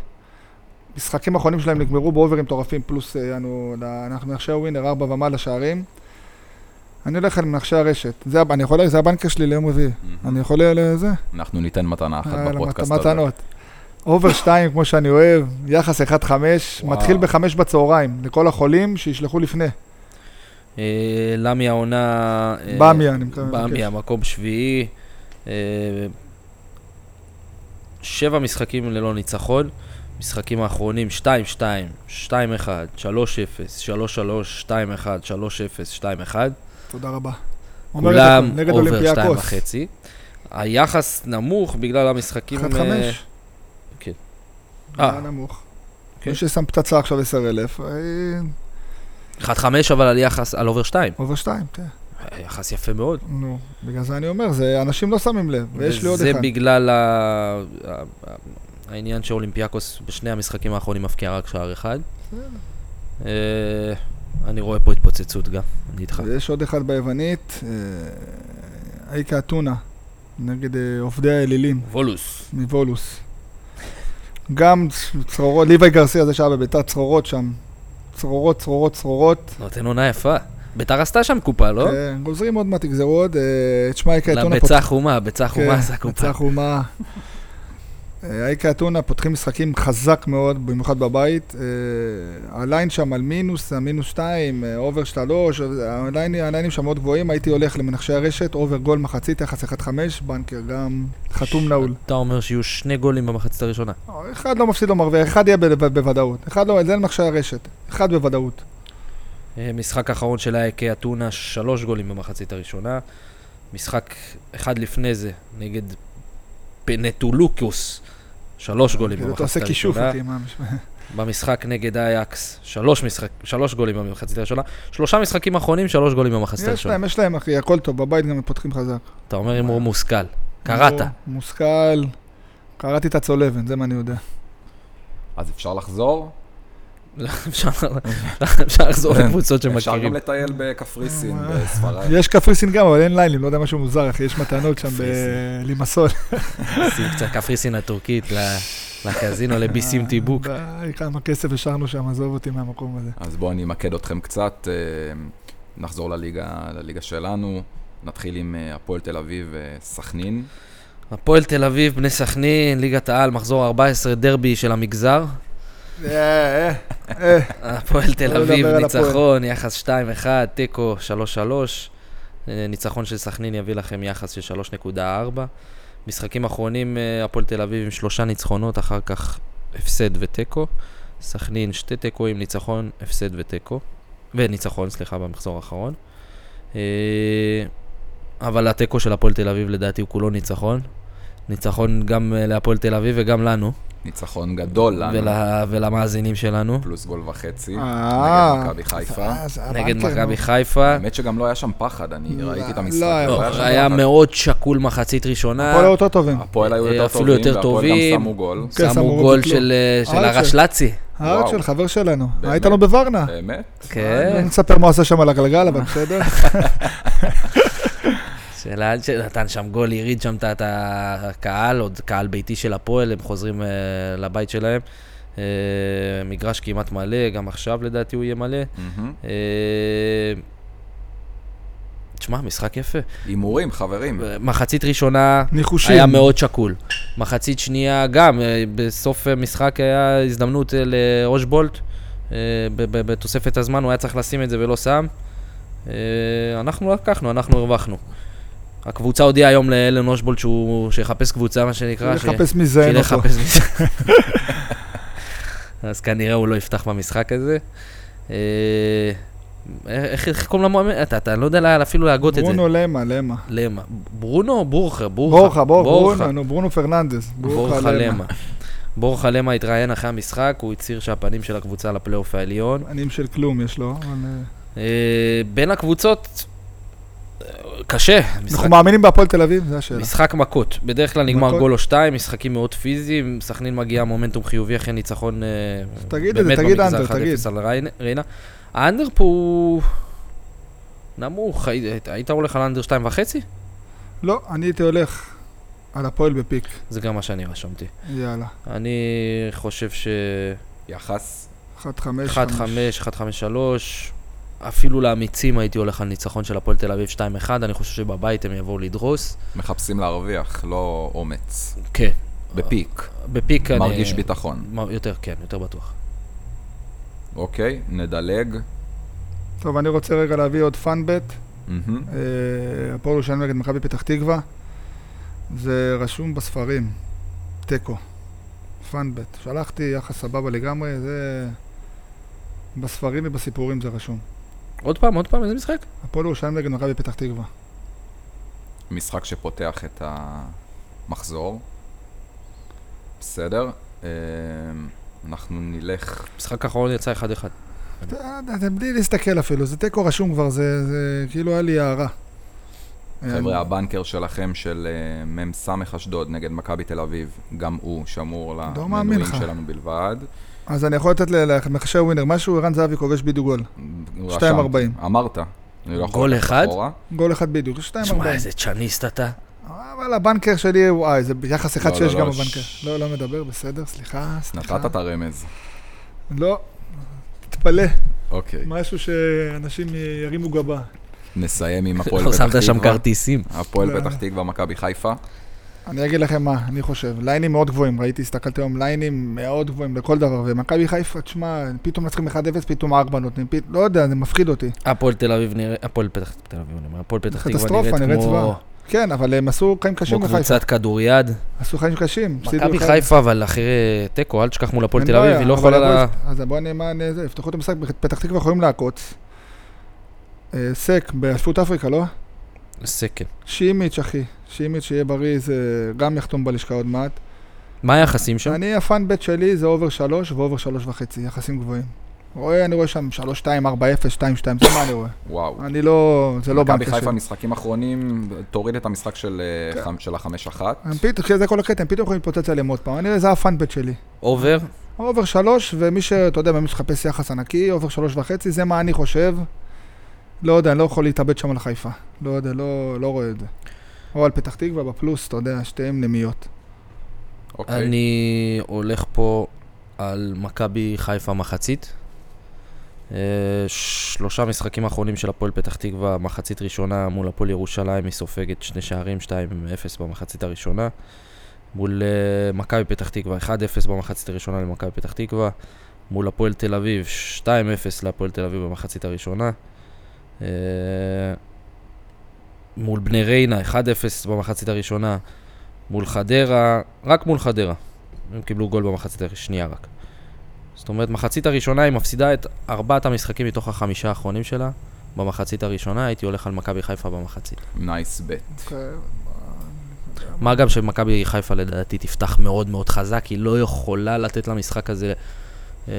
Speaker 2: משחקים האחרונים שלהם נגמרו באוברים מטורפים, פלוס אה, אנו, אנחנו נחשי הווינר, ארבע ומעלה שערים. אני הולך על מנחשי הרשת, זה, הב- אני יכול, זה הבנקר שלי ליום רביעי.
Speaker 1: מהמם.
Speaker 2: אני יכול לזה?
Speaker 1: אנחנו ניתן מתנה אחת
Speaker 2: Mm-hmm. יאללה,
Speaker 1: בפודקאסט
Speaker 2: מת-
Speaker 1: הזה.
Speaker 2: אה, מתנות. אובר 2, כמו שאני אוהב, יחס 1-5,
Speaker 1: וואו.
Speaker 2: מתחיל ב-5 בצהריים, לכל החולים שישלחו לפני.
Speaker 3: אה, למי העונה... אה,
Speaker 2: באמיה, אני מקווה.
Speaker 3: באמיה, מקום שביעי. אה, שבע משחקים ללא ניצחון. משחקים האחרונים 2-2, 2-1, 3-0, 3-3, 2-1, 3-0, 2-1.
Speaker 2: כן, תודה רבה. אומר את
Speaker 3: כולם
Speaker 2: הכל, נגד
Speaker 3: אובר שתיים
Speaker 2: אולימפיאקוס.
Speaker 3: וחצי. היחס נמוך בגלל המשחקים...
Speaker 2: אחד
Speaker 3: אה,
Speaker 2: חמש.
Speaker 3: כן.
Speaker 2: היה
Speaker 3: אה.
Speaker 2: נמוך.
Speaker 3: כן.
Speaker 2: מי ששם פצצה עכשיו 10,000, אה,
Speaker 3: 1-5 אבל על יחס, על אובר 2.
Speaker 2: אובר שתיים, כן.
Speaker 3: יחס יפה מאוד.
Speaker 2: נו, בגלל זה אני אומר, זה אנשים לא שמים לב, ויש לי עוד
Speaker 3: וזה
Speaker 2: אחד.
Speaker 3: בגלל ה... ה- ה- העניין שאולימפיאקוס בשני המשחקים האחרונים מבקיע רק שער אחד. אה, אני רואה פה התפוצצות גם, אני איתך.
Speaker 2: ויש עוד אחד ביוונית, אה, אייקה אתונה, נגד אה, עובדי האלילים.
Speaker 3: וולוס.
Speaker 2: מוולוס. גם צ- צרורות, ליוואי גרסיה זה שהיה בביתר צרורות שם. צרורות, צרורות, צרורות.
Speaker 3: נותן עונה יפה. ביתר עשתה שם קופה, לא?
Speaker 2: כן, גוזרים עוד מעט, תגזרו עוד. אה, תשמע, אייקה אתונה
Speaker 3: לביצה חומה, ביצה חומה זה
Speaker 2: כן,
Speaker 3: הקופה.
Speaker 2: ניצח אומה. אה, אייקה אתונה פותחים משחקים חזק מאוד, במיוחד בבית. אה, הליין שם על מינוס, המינוס 2, אובר 3, הליינים שם מאוד גבוהים, הייתי הולך למנחשי הרשת, אובר גול מחצית, יחס 1-5, בנקר גם חתום נעול.
Speaker 3: אתה אומר שיהיו שני גולים במחצית הראשונה.
Speaker 2: לא, אחד לא מפסיד, לא מרוויח, אחד יהיה ב- ב- בוודאות. אחד לא, זה למחשי הרשת, אחד בוודאות.
Speaker 3: אה, משחק אחרון של אייקה אתונה, שלוש גולים במחצית הראשונה. משחק אחד לפני זה, נגד פנטולוקיוס, שלוש גולים
Speaker 2: כאילו,
Speaker 3: במחצית
Speaker 2: אתה עושה
Speaker 3: הראשונה.
Speaker 2: כישוף, אחי, מה המשמע?
Speaker 3: במשחק נגד אייקס, שלוש, משחק, שלוש גולים במחצית הראשונה. שלושה משחקים אחרונים, שלוש גולים במחצית
Speaker 2: יש
Speaker 3: הראשונה.
Speaker 2: להם, יש להם, אחי, הכל טוב, בבית גם הם פותחים חזק. לא,
Speaker 3: אתה אומר הימור מושכל. קראת.
Speaker 2: מושכל, קראתי את הצולבן, זה מה אני יודע.
Speaker 1: אז אפשר לחזור?
Speaker 3: <laughs> אפשר אפשר לחזור
Speaker 1: כן.
Speaker 3: לקבוצות
Speaker 1: אפשר
Speaker 3: שמכירים.
Speaker 1: גם לטייל בקפריסין, בספרד,
Speaker 2: אה. יש קפריסין גם, אבל אין ליינים, לא יודע, משהו מוזר, אחי, יש מתנות שם
Speaker 1: קפריסין.
Speaker 2: בלימסול.
Speaker 3: שים קצת קפריסין הטורקית
Speaker 2: <laughs>
Speaker 3: ל- לקזינו, לביסים טיבוק.
Speaker 2: אה, די, כמה כסף השארנו שם, עזוב אותי מהמקום הזה.
Speaker 1: אז בואו אני אמקד אתכם קצת, אה, נחזור לליגה, לליגה שלנו, נתחיל עם אה, הפועל תל אביב אה, וסכנין.
Speaker 3: הפועל תל אביב, בני סכנין, ליגת העל, מחזור 14, דרבי של המגזר.
Speaker 2: אה, אה, אה,
Speaker 3: הפועל תל
Speaker 2: לא
Speaker 3: אביב,
Speaker 2: לדבר על
Speaker 3: ניצחון, יחס 2-1, תיקו 3-3. אה, ניצחון של סכנין יביא לכם יחס של 3.4. משחקים אחרונים, אה, הפועל תל אביב עם שלושה ניצחונות, אחר כך הפסד ותיקו. סכנין, שתי תיקואים, ניצחון, הפסד ותיקו. וניצחון, סליחה, במחזור האחרון. אה, אבל התיקו של הפועל תל אביב לדעתי הוא כולו ניצחון. ניצחון גם אה, להפועל תל אביב וגם לנו,
Speaker 1: ניצחון גדול לנו,
Speaker 3: ול, ולמאזינים שלנו.
Speaker 1: פלוס גול וחצי,
Speaker 2: אה.
Speaker 1: נגד מכבי חיפה.
Speaker 2: אה, זה
Speaker 3: נגד
Speaker 2: הבנקר, נו.
Speaker 3: מכבי חיפה.
Speaker 1: האמת שגם לא היה שם פחד, אני
Speaker 2: לא,
Speaker 1: ראיתי את
Speaker 2: לא
Speaker 1: המשחק.
Speaker 2: היה
Speaker 1: לא
Speaker 3: לא,
Speaker 2: אבל
Speaker 1: שם
Speaker 3: היה
Speaker 1: פחד.
Speaker 3: מאוד שקול מחצית ראשונה.
Speaker 2: הפועל היו יותר טובים.
Speaker 1: הפועל היו
Speaker 3: אה,
Speaker 1: יותר
Speaker 3: אפילו
Speaker 1: טובים,
Speaker 3: יותר
Speaker 1: והפועל
Speaker 3: טובים.
Speaker 1: גם שמו גול.
Speaker 2: כן,
Speaker 3: שמו
Speaker 2: סמור
Speaker 3: גול
Speaker 2: וביטלו.
Speaker 3: של אה, של
Speaker 2: הארץ
Speaker 3: הרש
Speaker 2: של-
Speaker 3: לאצי.
Speaker 2: הארץ
Speaker 1: וואו.
Speaker 2: של חבר שלנו,
Speaker 1: באמת?
Speaker 2: היית לנו בוורנה.
Speaker 1: באמת?
Speaker 2: לא
Speaker 3: כן,
Speaker 2: נספר מה הוא עשה שם על הגלגל, אבל
Speaker 3: <laughs>
Speaker 2: בסדר.
Speaker 3: של הארץ שנתן שם גול, הריד שם את ה- את הקהל, עוד קהל ביתי של הפועל, הם חוזרים אה, לבית שלהם. אה, מגרש כמעט מלא, גם עכשיו לדעתי הוא יהיה מלא.
Speaker 1: מהמם.
Speaker 3: אה, תשמע, משחק יפה.
Speaker 1: הימורים,
Speaker 3: אה,
Speaker 1: חברים.
Speaker 3: מחצית ראשונה,
Speaker 2: ניחושים.
Speaker 3: היה מאוד שקול. מחצית שנייה גם, אה, בסוף המשחק היה הזדמנות אה, לאושבולט, אה, ב- ב- בתוספת הזמן הוא היה צריך לשים את זה ולא שם. אה, אנחנו לקחנו, אנחנו הרווחנו. הקבוצה הודיעה היום לאלן אושבולט שהוא, שיחפש קבוצה, מה שנקרא, ש-
Speaker 2: לחפש מי זיין
Speaker 3: שילך
Speaker 2: אותו.
Speaker 3: לחפש משחק.
Speaker 2: <laughs>
Speaker 3: <laughs> אז כנראה הוא לא יפתח במשחק הזה. אה, איך איך קוראים למאמן? אתה- אתה לא יודע לה- אפילו להגות את זה.
Speaker 2: ברונו למה, למה.
Speaker 3: למה? ברונו? בורחה, בורחה.
Speaker 2: בורחה, בורחה, ברונו, נו, ברונו פרננדס.
Speaker 3: בורחה למה. בורחה למה התראיין אחרי המשחק, הוא הצהיר שהפנים של הקבוצה לפלייאוף העליון.
Speaker 2: פנים של כלום יש לו. אבל, אה,
Speaker 3: אה, בין הקבוצות, אה, קשה. משחק-
Speaker 2: אנחנו מאמינים בהפועל תל אביב, זו השאלה.
Speaker 3: משחק מכות. בדרך כלל נגמר
Speaker 2: מכות.
Speaker 3: גול או שתיים, משחקים מאוד פיזיים, סכנין מגיעה מומנטום חיובי אחרי ניצחון אה,
Speaker 2: תגיד את זה,
Speaker 3: באמת
Speaker 2: תגיד
Speaker 3: במגזר
Speaker 2: אנדר,
Speaker 3: 1-0
Speaker 2: תגיד.
Speaker 3: על ריינ- ריינה. האנדר פה הוא נמוך, היית- היית הולך על אנדר שתיים וחצי?
Speaker 2: לא, אני הייתי הולך על הפועל בפיק.
Speaker 3: זה גם מה שאני רשמתי.
Speaker 2: יאללה.
Speaker 3: אני חושב ש...
Speaker 1: יחס,
Speaker 2: 1 5
Speaker 3: 1-5, 1-5-3, אפילו לאמיצים הייתי הולך על ניצחון של הפועל תל אביב 2-1, אני חושב שבבית הם יבואו לדרוס.
Speaker 1: מחפשים להרוויח, לא אומץ.
Speaker 3: כן.
Speaker 1: בפיק,
Speaker 3: בפיק אני...
Speaker 1: מרגיש ביטחון.
Speaker 3: מ- יותר, כן, יותר בטוח.
Speaker 1: אוקיי, נדלג.
Speaker 2: טוב, אני רוצה רגע להביא עוד פאנבט.
Speaker 1: מהמם.
Speaker 2: אה, הפועל ירושלים נגד מכבי פתח תקווה. זה רשום בספרים. תיקו. פאנבט. שלחתי יחס סבבה לגמרי, זה... בספרים ובסיפורים זה רשום.
Speaker 3: עוד פעם, עוד פעם, איזה משחק?
Speaker 2: הפועל ירושלים נגד מכבי פתח תקווה.
Speaker 1: כן. משחק שפותח את המחזור. בסדר. אה, אנחנו נלך...
Speaker 3: משחק האחרון יצא 1-1.
Speaker 2: אתה- אתה- זה בלי להסתכל אפילו, זה תיקו רשום כבר, זה זה כאילו היה לי הערה.
Speaker 3: אה,
Speaker 2: אה,
Speaker 1: חבר'ה, הבנקר שלכם של אה, מ"ס אשדוד נגד מכבי תל אביב, גם הוא שמור
Speaker 2: לא מאמין
Speaker 1: למנויים
Speaker 2: לך.
Speaker 1: שלנו בלבד.
Speaker 2: אז אני יכול לתת למחשב ווינר משהו, ערן זהבי כובש בדיוק גול.
Speaker 1: רשמתי.
Speaker 2: 2.40.
Speaker 1: אמרת. אני לא יכול
Speaker 3: גול
Speaker 1: ללכת
Speaker 3: אחד?
Speaker 1: אחורה.
Speaker 2: גול אחד בדיוק, זה 2.40.
Speaker 3: תשמע, איזה צ'אניסט אתה.
Speaker 2: אבל הבנקר שלי, וואי, זה ביחס 1-6
Speaker 1: לא, לא,
Speaker 2: גם
Speaker 1: לא,
Speaker 2: הבנקר.
Speaker 1: ש-
Speaker 2: לא, לא מדבר, בסדר, סליחה, סליחה.
Speaker 1: נתת
Speaker 3: אה.
Speaker 1: את הרמז.
Speaker 2: לא, תתפלא,
Speaker 1: אוקיי.
Speaker 2: משהו שאנשים ירימו גבה.
Speaker 1: נסיים
Speaker 3: <laughs>
Speaker 1: עם הפועל
Speaker 3: לא
Speaker 1: פתח תקווה.
Speaker 3: שמת שם כרטיסים.
Speaker 1: הפועל
Speaker 2: לא.
Speaker 1: פתח תקווה, מכבי חיפה.
Speaker 2: אני אגיד לכם מה, אני חושב, ליינים מאוד גבוהים, ראיתי, הסתכלתי היום, ליינים מאוד גבוהים לכל דבר, ומכבי חיפה, תשמע, פתאום מנצחים 1-0, פתאום 4 נותנים, פת... לא יודע, זה מפחיד אותי.
Speaker 3: הפועל תל אביב נראה, הפועל פתח תל אביב, אני אומר, הפועל פתח תקווה
Speaker 2: קטסטרופה,
Speaker 3: נראית
Speaker 2: נראית
Speaker 3: כמו,
Speaker 2: זוועה. כן, אבל הם עשו חיים קשים
Speaker 3: כמו
Speaker 2: בחיפה,
Speaker 3: קבוצת כדוריד.
Speaker 2: עשו חיים קשים. הפסידו
Speaker 3: מכבי
Speaker 2: אחד.
Speaker 3: חיפה, אבל אחרי תיקו, אל תשכח מול הפועל
Speaker 2: אין
Speaker 3: תל אביב,
Speaker 2: בעיה,
Speaker 3: היא לא
Speaker 2: אבל
Speaker 3: יכולה...
Speaker 2: יבואו- אז בוא נאמן, זה, יפתחו את המשחק, פתח תקווה יכולים לעקוץ. אה, סק באליפות אפריקה, לא?
Speaker 3: סקל.
Speaker 2: שימיץ', אחי. שימיץ', שיהיה בריא, זה גם יחתום בלשכה עוד מעט.
Speaker 3: מה היחסים שם?
Speaker 2: אני, הפאן בית שלי זה אובר שלוש ואובר שלוש וחצי, יחסים גבוהים. רואה, אני רואה שם שלוש, שתיים, ארבע, אפס, שתיים, שתיים, זה מה אני רואה.
Speaker 1: וואו.
Speaker 2: אני לא, זה לא
Speaker 1: מכבי
Speaker 2: בנק כן. שלי.
Speaker 1: חיפה, משחקים אחרונים, תוריד את המשחק של אה, חמ- של החמש אחת.
Speaker 2: הם פתאום, כי זה כל הקטע, הם פתאום יכולים להתפוצץ עליהם עוד פעם. אני, זה הפאן בית שלי.
Speaker 3: אובר?
Speaker 2: אובר שלוש, ומי שאתה יודע, מי שחפש יחס ענקי, אובר שלוש וחצי, זה מה אני חושב. לא יודע, אני לא יכול להתאבד שם על חיפה. לא יודע, לא, לא רואה את זה. או על פתח תקווה בפלוס, אתה יודע, שתיהן נמיות.
Speaker 1: אוקיי.
Speaker 3: אני הולך פה על מכבי חיפה מחצית. אה, שלושה משחקים האחרונים של הפועל פתח תקווה, מחצית ראשונה מול הפועל ירושלים, היא סופגת שני שערים, 2-0 במחצית הראשונה. מול אה, מכבי פתח תקווה, 1-0 במחצית הראשונה למכבי פתח תקווה. מול הפועל תל אביב, 2-0 להפועל תל אביב במחצית הראשונה. אה, מול בני ריינה, 1-0 במחצית הראשונה. מול חדרה, רק מול חדרה. הם קיבלו גול במחצית השנייה רק. זאת אומרת, מחצית הראשונה היא מפסידה את ארבעת המשחקים מתוך החמישה האחרונים שלה. במחצית הראשונה הייתי הולך על מכבי חיפה במחצית.
Speaker 1: נייס בט.
Speaker 3: אוקיי. מה גם שמכבי חיפה לדעתי תפתח מאוד מאוד חזק, היא לא יכולה לתת למשחק הזה אה,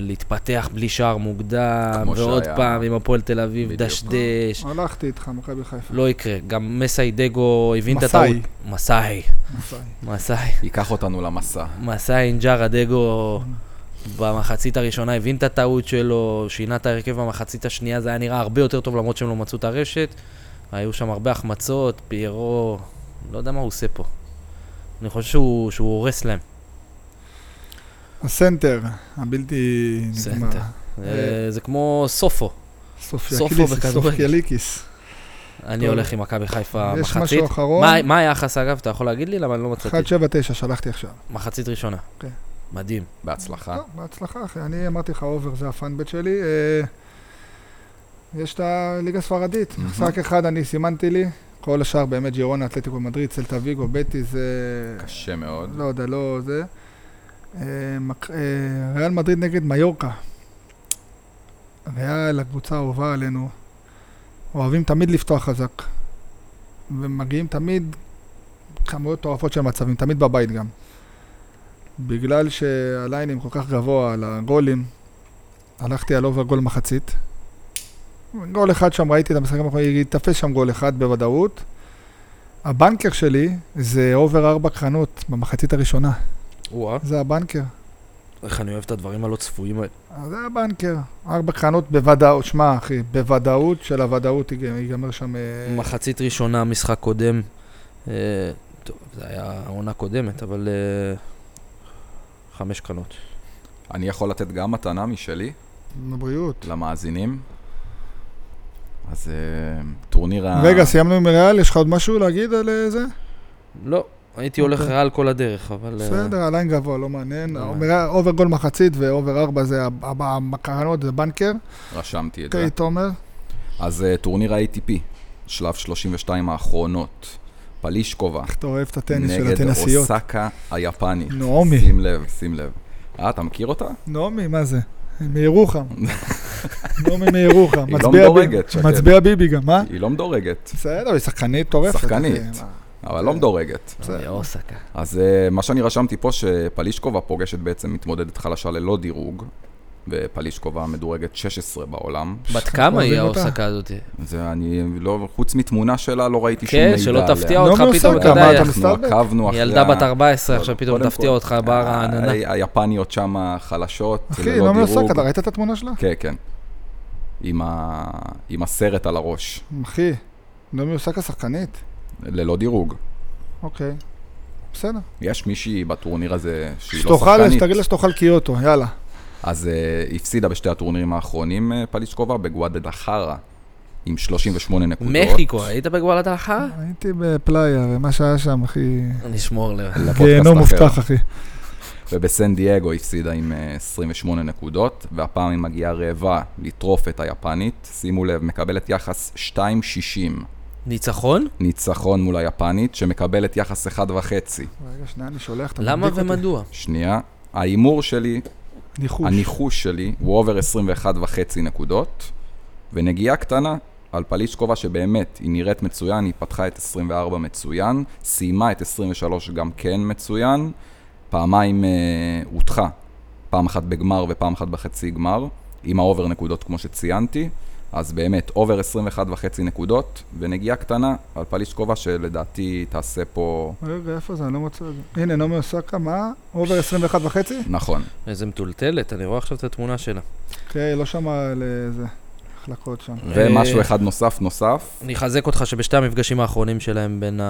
Speaker 3: להתפתח בלי שער מוקדם,
Speaker 1: כמו
Speaker 3: ועוד
Speaker 1: שהיה.
Speaker 3: פעם עם הפועל תל אביב
Speaker 1: בדיוק.
Speaker 3: דשדש.
Speaker 2: הלכתי איתך, מכבי חיפה.
Speaker 3: לא יקרה, גם מסאי דגו הבין את הטעות.
Speaker 2: מסאי.
Speaker 3: מסאי.
Speaker 2: מסאי.
Speaker 3: מסאי.
Speaker 1: ייקח אותנו למסע.
Speaker 3: מסע אינג'ארה דגו במחצית הראשונה הבין את הטעות שלו, שינה את ההרכב במחצית השנייה, זה היה נראה הרבה יותר טוב למרות שהם לא מצאו את הרשת. היו שם הרבה החמצות, פיירו, לא יודע מה הוא עושה פה. אני חושב שהוא, שהוא הורס להם.
Speaker 2: הסנטר, הבלתי נגמר.
Speaker 3: סנטר. אה, זה כמו סופו. סופו
Speaker 2: סופיאקיליס,
Speaker 3: בכדורגל.
Speaker 2: סופיאליקיס.
Speaker 3: אני
Speaker 2: טוב.
Speaker 3: הולך עם מכבי חיפה
Speaker 2: יש
Speaker 3: מחצית.
Speaker 2: משהו אחרון,
Speaker 3: מה- מה היחס אגב? אתה יכול להגיד לי? למה אני לא מצאתי?
Speaker 2: 179 שלחתי עכשיו.
Speaker 3: מחצית ראשונה.
Speaker 2: כן.
Speaker 3: מדהים. אה.
Speaker 1: בהצלחה.
Speaker 2: טוב, בהצלחה אחי, אני אמרתי לך אובר, זה הפאנבט שלי. אה, יש את הליגה הספרדית,
Speaker 1: מהמם.
Speaker 2: משחק אחד אני סימנתי לי, כל השאר באמת ג'ירונה, אתלטיקו מדריד, סלטה ויגו, בטי, זה...
Speaker 1: קשה מאוד.
Speaker 2: לא יודע, לא זה. אה, מק- אה, ריאל מדריד נגד מיורקה. ריאל, הקבוצה האהובה עלינו, אוהבים תמיד לפתוח חזק. ומגיעים תמיד כמויות מטורפות של מצבים, תמיד בבית גם. בגלל שהליינים כל כך גבוה על הגולים, הלכתי על אובר גול מחצית. גול אחד שם, ראיתי את המשחקים האחרונים, ייתפס שם גול אחד בוודאות. הבנקר שלי זה אובר ארבע קרנות במחצית הראשונה.
Speaker 3: וואה,
Speaker 2: זה הבנקר.
Speaker 3: איך אני אוהב את הדברים הלא צפויים האלה.
Speaker 2: אז זה הבנקר. ארבע קרנות בוודאות, שמע אחי, בוודאות של הוודאות ייג- ייגמר שם... אה,
Speaker 3: מחצית ראשונה, משחק קודם. אה, טוב, זה היה עונה קודמת, אבל... אה, חמש קרנות.
Speaker 1: אני יכול לתת גם מתנה משלי
Speaker 2: בבריאות.
Speaker 1: למאזינים. אז אה, טורניר ה...
Speaker 2: רגע, סיימנו עם ריאל, יש לך עוד משהו להגיד על אה, זה?
Speaker 3: לא, הייתי הולך
Speaker 2: אוקיי.
Speaker 3: רעל כל הדרך, אבל... אה,
Speaker 2: בסדר, עדיין גבוה, לא מעניין.
Speaker 3: לא
Speaker 2: אובר- אובר גול מחצית ואובר ארבע זה הב- הב- הקרנות, זה בנקר.
Speaker 1: רשמתי את זה.
Speaker 2: אוקיי, תומר.
Speaker 1: אז אה, טורניר ה-ATP, שלב 32 האחרונות. פלישקובה
Speaker 2: איך אתה אוהב את הטניס של
Speaker 1: נגד
Speaker 2: הטנסיות.
Speaker 1: אוסקה היפנית.
Speaker 2: נעמי.
Speaker 1: שים לב, שים לב. אה, אתה מכיר אותה?
Speaker 2: נעמי, מה זה? מירוחם. נעמי
Speaker 1: <laughs>
Speaker 2: מירוחם.
Speaker 1: היא לא
Speaker 2: מצביע ביבי.
Speaker 1: מדורגת, שקד.
Speaker 2: מצביע ביבי גם, אה?
Speaker 1: היא לא מדורגת,
Speaker 2: בסדר, היא שחקנית מטורפת.
Speaker 1: שחקנית.
Speaker 2: אז, אה,
Speaker 1: אבל לא מדורגת.
Speaker 2: בסדר.
Speaker 3: אוי, אוסקה.
Speaker 1: אז אה, מה שאני רשמתי פה, שפלישקובה פוגשת בעצם מתמודדת חלשה ללא דירוג, ופלישקובה מדורגת 16 בעולם.
Speaker 3: בת כמה היא
Speaker 2: אוהבים אותה?
Speaker 3: האוסקה הזאת?
Speaker 1: זה אני לא, חוץ מתמונה שלה לא ראיתי שום מידע
Speaker 3: כן,
Speaker 1: עליה.
Speaker 3: שלא תפתיע
Speaker 2: לא
Speaker 3: אותך
Speaker 2: מאוסקה,
Speaker 3: פתאום, אתה
Speaker 2: כמה
Speaker 3: יודע,
Speaker 2: אתה
Speaker 1: אנחנו
Speaker 2: מסתלבט?
Speaker 1: עקבנו אחרי...
Speaker 3: היא ילדה בת
Speaker 1: ה-
Speaker 3: 14, עכשיו פתאום
Speaker 1: קודם
Speaker 3: תפתיע
Speaker 1: כל, אה,
Speaker 3: אותך בר העננה.
Speaker 1: ה- היפניות שם החלשות,
Speaker 2: אחי,
Speaker 1: ללא
Speaker 2: לא נעמי
Speaker 1: לא דירוג.
Speaker 2: אוסקה, אתה ראית את התמונה שלה?
Speaker 1: כן, כן. עם, ה... עם הסרט על הראש,
Speaker 2: אחי, לא נעמי אוסקה שחקנית.
Speaker 1: ללא דירוג.
Speaker 2: אוקיי. בסדר.
Speaker 1: יש מישהי בטורניר הזה שהיא לא
Speaker 2: שתאכל,
Speaker 1: שחקנית,
Speaker 2: שתגיד לה שתאכל קיוטו, יאללה.
Speaker 1: אז uh, הפסידה בשתי הטורנירים האחרונים uh, פליצ'קובה בגואדדחרה עם 38 נקודות. אה,
Speaker 3: מחיקו, היית בגוואלד הלכה?
Speaker 2: הייתי בפלאיה, ומה שהיה שם, אחי...
Speaker 3: נשמור ל...
Speaker 1: לפודקאסט
Speaker 2: גיהנום
Speaker 1: אחר.
Speaker 2: מובטח, אחי.
Speaker 1: ובסן דייגו הפסידה עם אה, 28 נקודות, והפעם היא מגיעה רעבה לטרוף את היפנית. שימו לב, מקבלת יחס 2.60
Speaker 3: ניצחון?
Speaker 1: ניצחון מול היפנית, שמקבלת יחס 1.5.
Speaker 2: רגע, שנייה, אני שולח, אתה
Speaker 3: למה
Speaker 2: מדליק אותי.
Speaker 3: ומדוע?
Speaker 1: שנייה, ההימור שלי,
Speaker 2: ניחוש.
Speaker 1: הניחוש שלי, הוא אובר 21.5 נקודות, ונגיעה קטנה. על פליצ'קובה שבאמת, היא נראית מצוין, היא פתחה את 24 מצוין, סיימה את 23 גם כן מצוין, פעמיים אה, הודחה, פעם אחת בגמר ופעם אחת בחצי גמר, עם האובר נקודות כמו שציינתי, אז באמת, אובר 21 וחצי נקודות, ונגיעה קטנה על פליצ'קובה שלדעתי תעשה פה...
Speaker 2: רגע, איפה זה? אני לא מוצא את זה. הנה, נעמי אוסקה, מה? אובר 21 וחצי?
Speaker 1: נכון.
Speaker 3: איזה מטולטלת, אני רואה עכשיו את התמונה שלה.
Speaker 2: כן, לא שמע על אה, זה. החלקות שם.
Speaker 1: ומשהו אחד נוסף נוסף,
Speaker 3: אני אחזק אותך שבשתי המפגשים האחרונים שלהם בין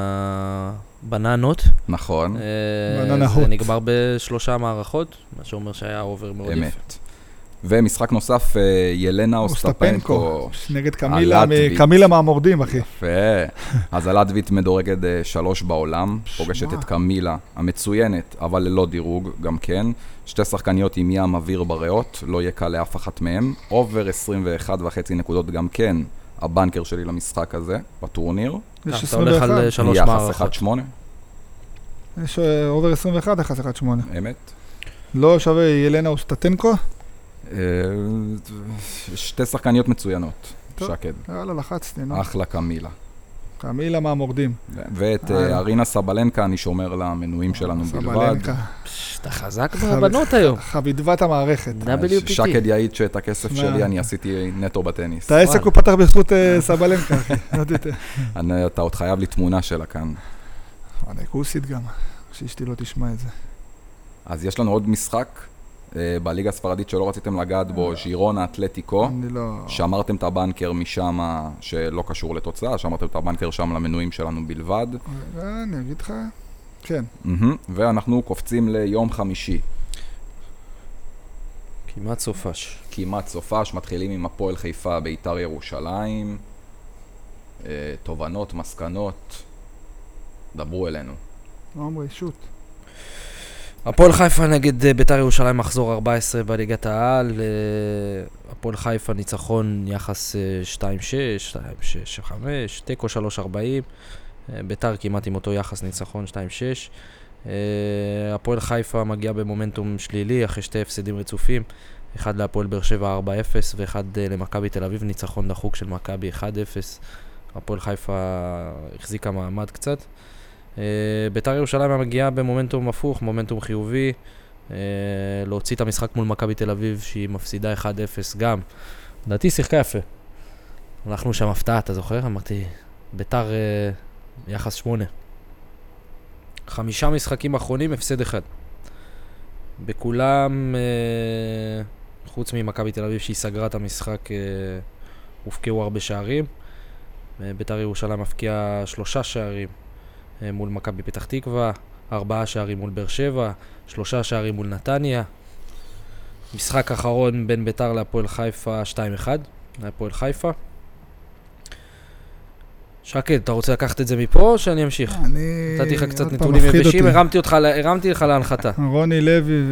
Speaker 3: הבננות,
Speaker 1: נכון.
Speaker 3: אה,
Speaker 2: בננהות.
Speaker 3: זה נגמר בשלושה מערכות, מה שאומר שהיה אובר מאוד יפה.
Speaker 1: אמת. ומשחק נוסף, אה, ילנה אוסטפנקו.
Speaker 2: אוסטפנקו. נגד קמילה, מ-
Speaker 1: הלטבית.
Speaker 2: קמילה מהמורדים, אחי.
Speaker 3: אה,
Speaker 1: יפה. אז הלדווית מדורגת אה, שלוש בעולם,
Speaker 2: שמע.
Speaker 1: פוגשת את קמילה המצוינת, אבל ללא דירוג גם כן. שתי שחקניות עם ים אוויר בריאות, לא יהיה קל לאף אחת מהן. אובר 21 וחצי נקודות גם כן, הבנקר שלי למשחק הזה, בטורניר.
Speaker 2: יש
Speaker 3: אתה הולך
Speaker 2: 21.
Speaker 3: על אה, שלוש
Speaker 1: יחס
Speaker 3: מערכות.
Speaker 1: 1-8,
Speaker 2: יש אה, אובר 21, 1-1-8.
Speaker 1: אמת.
Speaker 2: לא שווה ילנה אוסטטנקו?
Speaker 1: אה, שתי שחקניות מצוינות,
Speaker 2: טוב.
Speaker 1: שקד.
Speaker 2: יאללה, לחצתי, נו.
Speaker 1: אחלה קמילה.
Speaker 2: קמילה מהמורדים.
Speaker 1: ואת אה,
Speaker 2: הלאה.
Speaker 1: ארינה סבלנקה אני שומר למנויים שלנו בלבד.
Speaker 2: אה, סבלנקה.
Speaker 3: פש, אתה חזק
Speaker 2: חב-
Speaker 3: בבנות היום.
Speaker 1: <laughs>
Speaker 2: חבידבת המערכת.
Speaker 3: WPT.
Speaker 1: שקד יעיד שאת הכסף
Speaker 2: מה?
Speaker 1: שלי אני עשיתי נטו בטניס.
Speaker 2: את העסק הוא פתח בזכות אה, סבלנקה,
Speaker 1: <laughs>
Speaker 2: אחי. לא תטעה.
Speaker 1: אני- אתה עוד חייב לי תמונה שלה כאן.
Speaker 2: אני כוסית גם, שאשתי לא תשמע את זה.
Speaker 1: אז יש לנו עוד משחק אה, בליגה הספרדית שלא רציתם לגעת
Speaker 2: אה.
Speaker 1: בו, ז'ירונה אתלטיקו.
Speaker 2: אני לא...
Speaker 1: שמרתם את הבנקר משם, שלא קשור לתוצאה, שמרתם את הבנקר שם למנויים שלנו בלבד.
Speaker 2: אה. רגע, אני אגיד לך. כן.
Speaker 1: מהמם. ואנחנו קופצים ליום חמישי.
Speaker 3: כמעט סופש.
Speaker 1: כמעט סופש, מתחילים עם הפועל חיפה, ביתר ירושלים. אה, תובנות, מסקנות. דברו אלינו.
Speaker 2: עמרי, שוט.
Speaker 3: הפועל חיפה נגד אה, ביתר ירושלים מחזור 14 בליגת העל. אה, הפועל חיפה ניצחון יחס אה, 2-6, 2-6-5, תיקו 3-40. אה, ביתר כמעט עם אותו יחס ניצחון 2-6. אה, הפועל חיפה מגיעה במומנטום שלילי אחרי שתי הפסדים רצופים. אחד להפועל באר שבע 4-0 ואחד אה, למכבי תל אביב, ניצחון דחוק של מכבי 1-0. הפועל חיפה החזיקה מעמד קצת. אה, ביתר ירושלים מגיעה במומנטום הפוך, מומנטום חיובי. אה, להוציא את המשחק מול מכבי תל אביב שהיא מפסידה 1-0 גם. לדעתי היא שיחקה יפה. הלכנו שם הפתעה, אתה זוכר? אמרתי, ביתר אה, יחס 8. חמישה משחקים אחרונים, הפסד אחד. בכולם, אה, חוץ ממכבי תל אביב שהיא סגרה את המשחק, אה, הובקעו הרבה שערים. אה, ביתר ירושלים הפקיעה שלושה שערים אה, מול מכבי פתח תקווה, ארבעה שערים מול באר שבע, שלושה שערים מול נתניה. משחק אחרון בין ביתר להפועל חיפה 2-1, להפועל חיפה. שקד, אתה רוצה לקחת את זה מפה או שאני אמשיך?
Speaker 1: אה,
Speaker 2: אני...
Speaker 3: נתתי לך קצת
Speaker 2: אה, עוד פעם,
Speaker 3: נתונים
Speaker 2: מפחיד
Speaker 3: יבשים,
Speaker 2: אותי.
Speaker 3: הרמתי אותך ל- הרמתי לך להנחתה.
Speaker 2: רוני לוי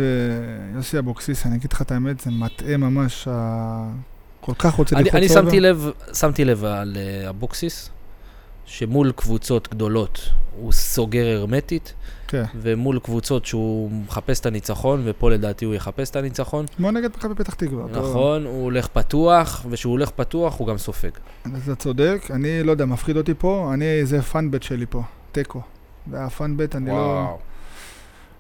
Speaker 2: ויוסי אבוקסיס, אני אגיד לך את האמת, זה מטעה ממש. ה- כל כך רוצה
Speaker 3: אני
Speaker 2: ללחוץ
Speaker 3: אני
Speaker 2: אובר.
Speaker 3: שמתי לב, שמתי לב על אה, אבוקסיס, שמול קבוצות גדולות הוא סוגר הרמטית,
Speaker 2: כן.
Speaker 3: ומול קבוצות שהוא מחפש את הניצחון, ופה לדעתי הוא יחפש את הניצחון.
Speaker 2: כמו נגד מכבי פתח תקווה. אותו-
Speaker 3: נכון, הוא הולך פתוח, וכשהוא הולך פתוח הוא גם סופג.
Speaker 2: אתה צודק, אני לא יודע, מפחיד אותי פה, אני, זה פאנבט שלי פה, תיקו. זה הפאנבט, אני לא...
Speaker 1: וואו.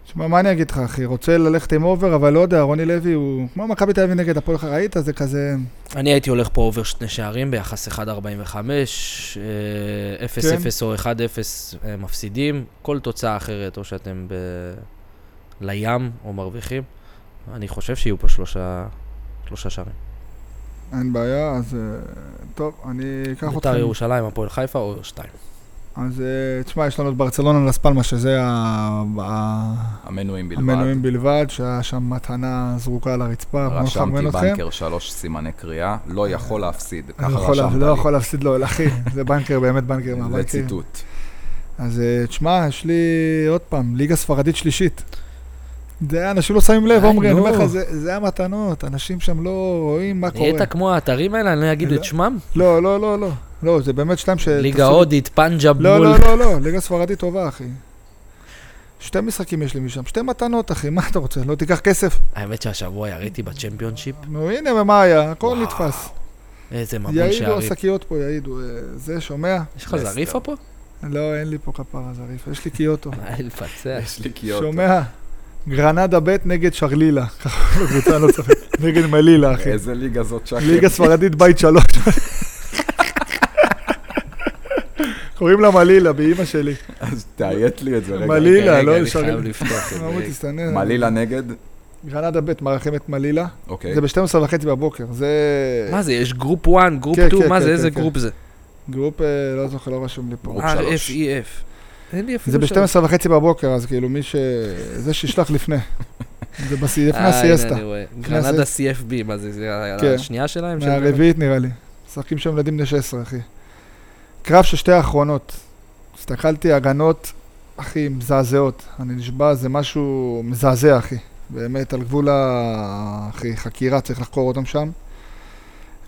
Speaker 2: שמע, מה אני אגיד לך, אחי? רוצה ללכת עם אובר, אבל לא יודע, רוני לוי הוא... כמו מכבי תל אביב נגד הפועל חי- ראית? זה כזה...
Speaker 3: אני הייתי הולך פה אובר שני שערים ביחס 1.45, אה, 0-0
Speaker 2: כן.
Speaker 3: או 1-0 אה, מפסידים, כל תוצאה אחרת, או שאתם ב... לים או מרוויחים. אני חושב שיהיו פה שלושה, שלושה שערים.
Speaker 2: אין בעיה, אז... אה, טוב, אני אקח אותך.
Speaker 3: ביתר ירושלים, הפועל חיפה, אובר 2.
Speaker 2: אז אה, תשמע, יש לנו את ברצלונה לספלמה, שזה ה- ה-
Speaker 1: המנויים בלבד.
Speaker 2: המנויים בלבד, שהיה שם מתנה זרוקה על הרצפה, כמו
Speaker 1: רשמתי
Speaker 2: מחמרן אתכם.
Speaker 1: בנקר שלוש סימני קריאה, לא יכול להפסיד.
Speaker 2: אני
Speaker 1: ככה
Speaker 2: יכול לה-
Speaker 1: רשמת
Speaker 2: לא
Speaker 1: לי.
Speaker 2: יכול אוקיי. להפסיד לו, אחי, זה בנקר, באמת בנקר
Speaker 1: זה
Speaker 2: מהבנקר.
Speaker 1: ציטוט.
Speaker 2: אז אה, תשמע, יש לי עוד פעם, ליגה ספרדית שלישית. זה אנשים לא שמים לב,
Speaker 3: די,
Speaker 2: עומרי, אני אומר
Speaker 3: נו.
Speaker 2: לך, זה- זה המתנות, אנשים שם לא רואים מה קורה.
Speaker 3: נהיית כמו האתרים האלה, אני לא אגיד
Speaker 2: לא.
Speaker 3: את שמם?
Speaker 2: לא, לא, לא, לא. לא, זה באמת שתיים ש...
Speaker 3: ליגה
Speaker 2: תעשו-
Speaker 3: הודית, פנג'אב
Speaker 2: לא,
Speaker 3: מול...
Speaker 2: לא, לא, לא, ליגה ספרדית טובה, אחי. שתי משחקים יש לי משם, שתי מתנות, אחי, מה אתה רוצה? לא תיקח כסף?
Speaker 3: האמת שהשבוע יריתי בצ'מפיונשיפ,
Speaker 2: נו, הנה, ומה היה? הכל
Speaker 3: וואו,
Speaker 2: נתפס.
Speaker 3: איזה מבול
Speaker 2: יעידו
Speaker 3: שערים.
Speaker 2: השקיות פה, יעידו. אה, זה, שומע?
Speaker 3: יש לך זריפה פה?
Speaker 2: לא, אין לי פה כפרה זריף, יש לי קיוטו.
Speaker 3: אה, לפצח.
Speaker 1: יש לי קיוטו.
Speaker 2: שומע? גרנדה ב' נגד שרלילה. <laughs> ככה בקבוצה לא צוחק. נגד מלילה, אחי.
Speaker 1: איזה ליגה זאת שקר.
Speaker 2: ליגה ספרדית
Speaker 1: <laughs>
Speaker 2: בית שלוש. קוראים לה מלילה, באימא שלי.
Speaker 1: אז תאיית לי את זה רגע.
Speaker 2: מליל. לילה,
Speaker 3: רגע,
Speaker 2: לא
Speaker 3: אני
Speaker 2: לשרים.
Speaker 3: חייב לפתוח את
Speaker 2: למה
Speaker 3: זה.
Speaker 2: תסתנן?
Speaker 1: כן, מלילה נגד,
Speaker 2: גרנדה ב' מארחים את מלילה.
Speaker 1: אוקיי.
Speaker 2: זה ב-12 וחצי בבוקר. זה
Speaker 3: מה זה, יש גרופ 1, גרופ
Speaker 2: כן,
Speaker 3: 2,
Speaker 2: כן,
Speaker 3: מה
Speaker 2: כן,
Speaker 3: זה, איזה
Speaker 2: כן,
Speaker 3: גרופ זה?
Speaker 2: גרופ, אה, לא זוכר, לא רשום לי פה.
Speaker 1: גרופ
Speaker 3: אה,
Speaker 1: שלוש.
Speaker 3: FEF. אין לי אפילו
Speaker 2: זה ב-12 וחצי בבוקר, אז כאילו מי ש... זה שישלח לפני. זה בס-
Speaker 3: אה,
Speaker 2: לפני הסיאסטה.
Speaker 3: גרנדה CFB, מה זה, זה ה-
Speaker 2: כן.
Speaker 3: השנייה שלהם? של-
Speaker 2: מהרביעית נראה לי. משחקים שם ילדים בני 16, אחי. קרב של שתי האחרונות. הסתכלתי, הגנות, אחי, מזעזעות. אני נשבע, זה משהו מזעזע, אחי. באמת, על גבול ה... אחי, חקירה, צריך לחקור אותם שם.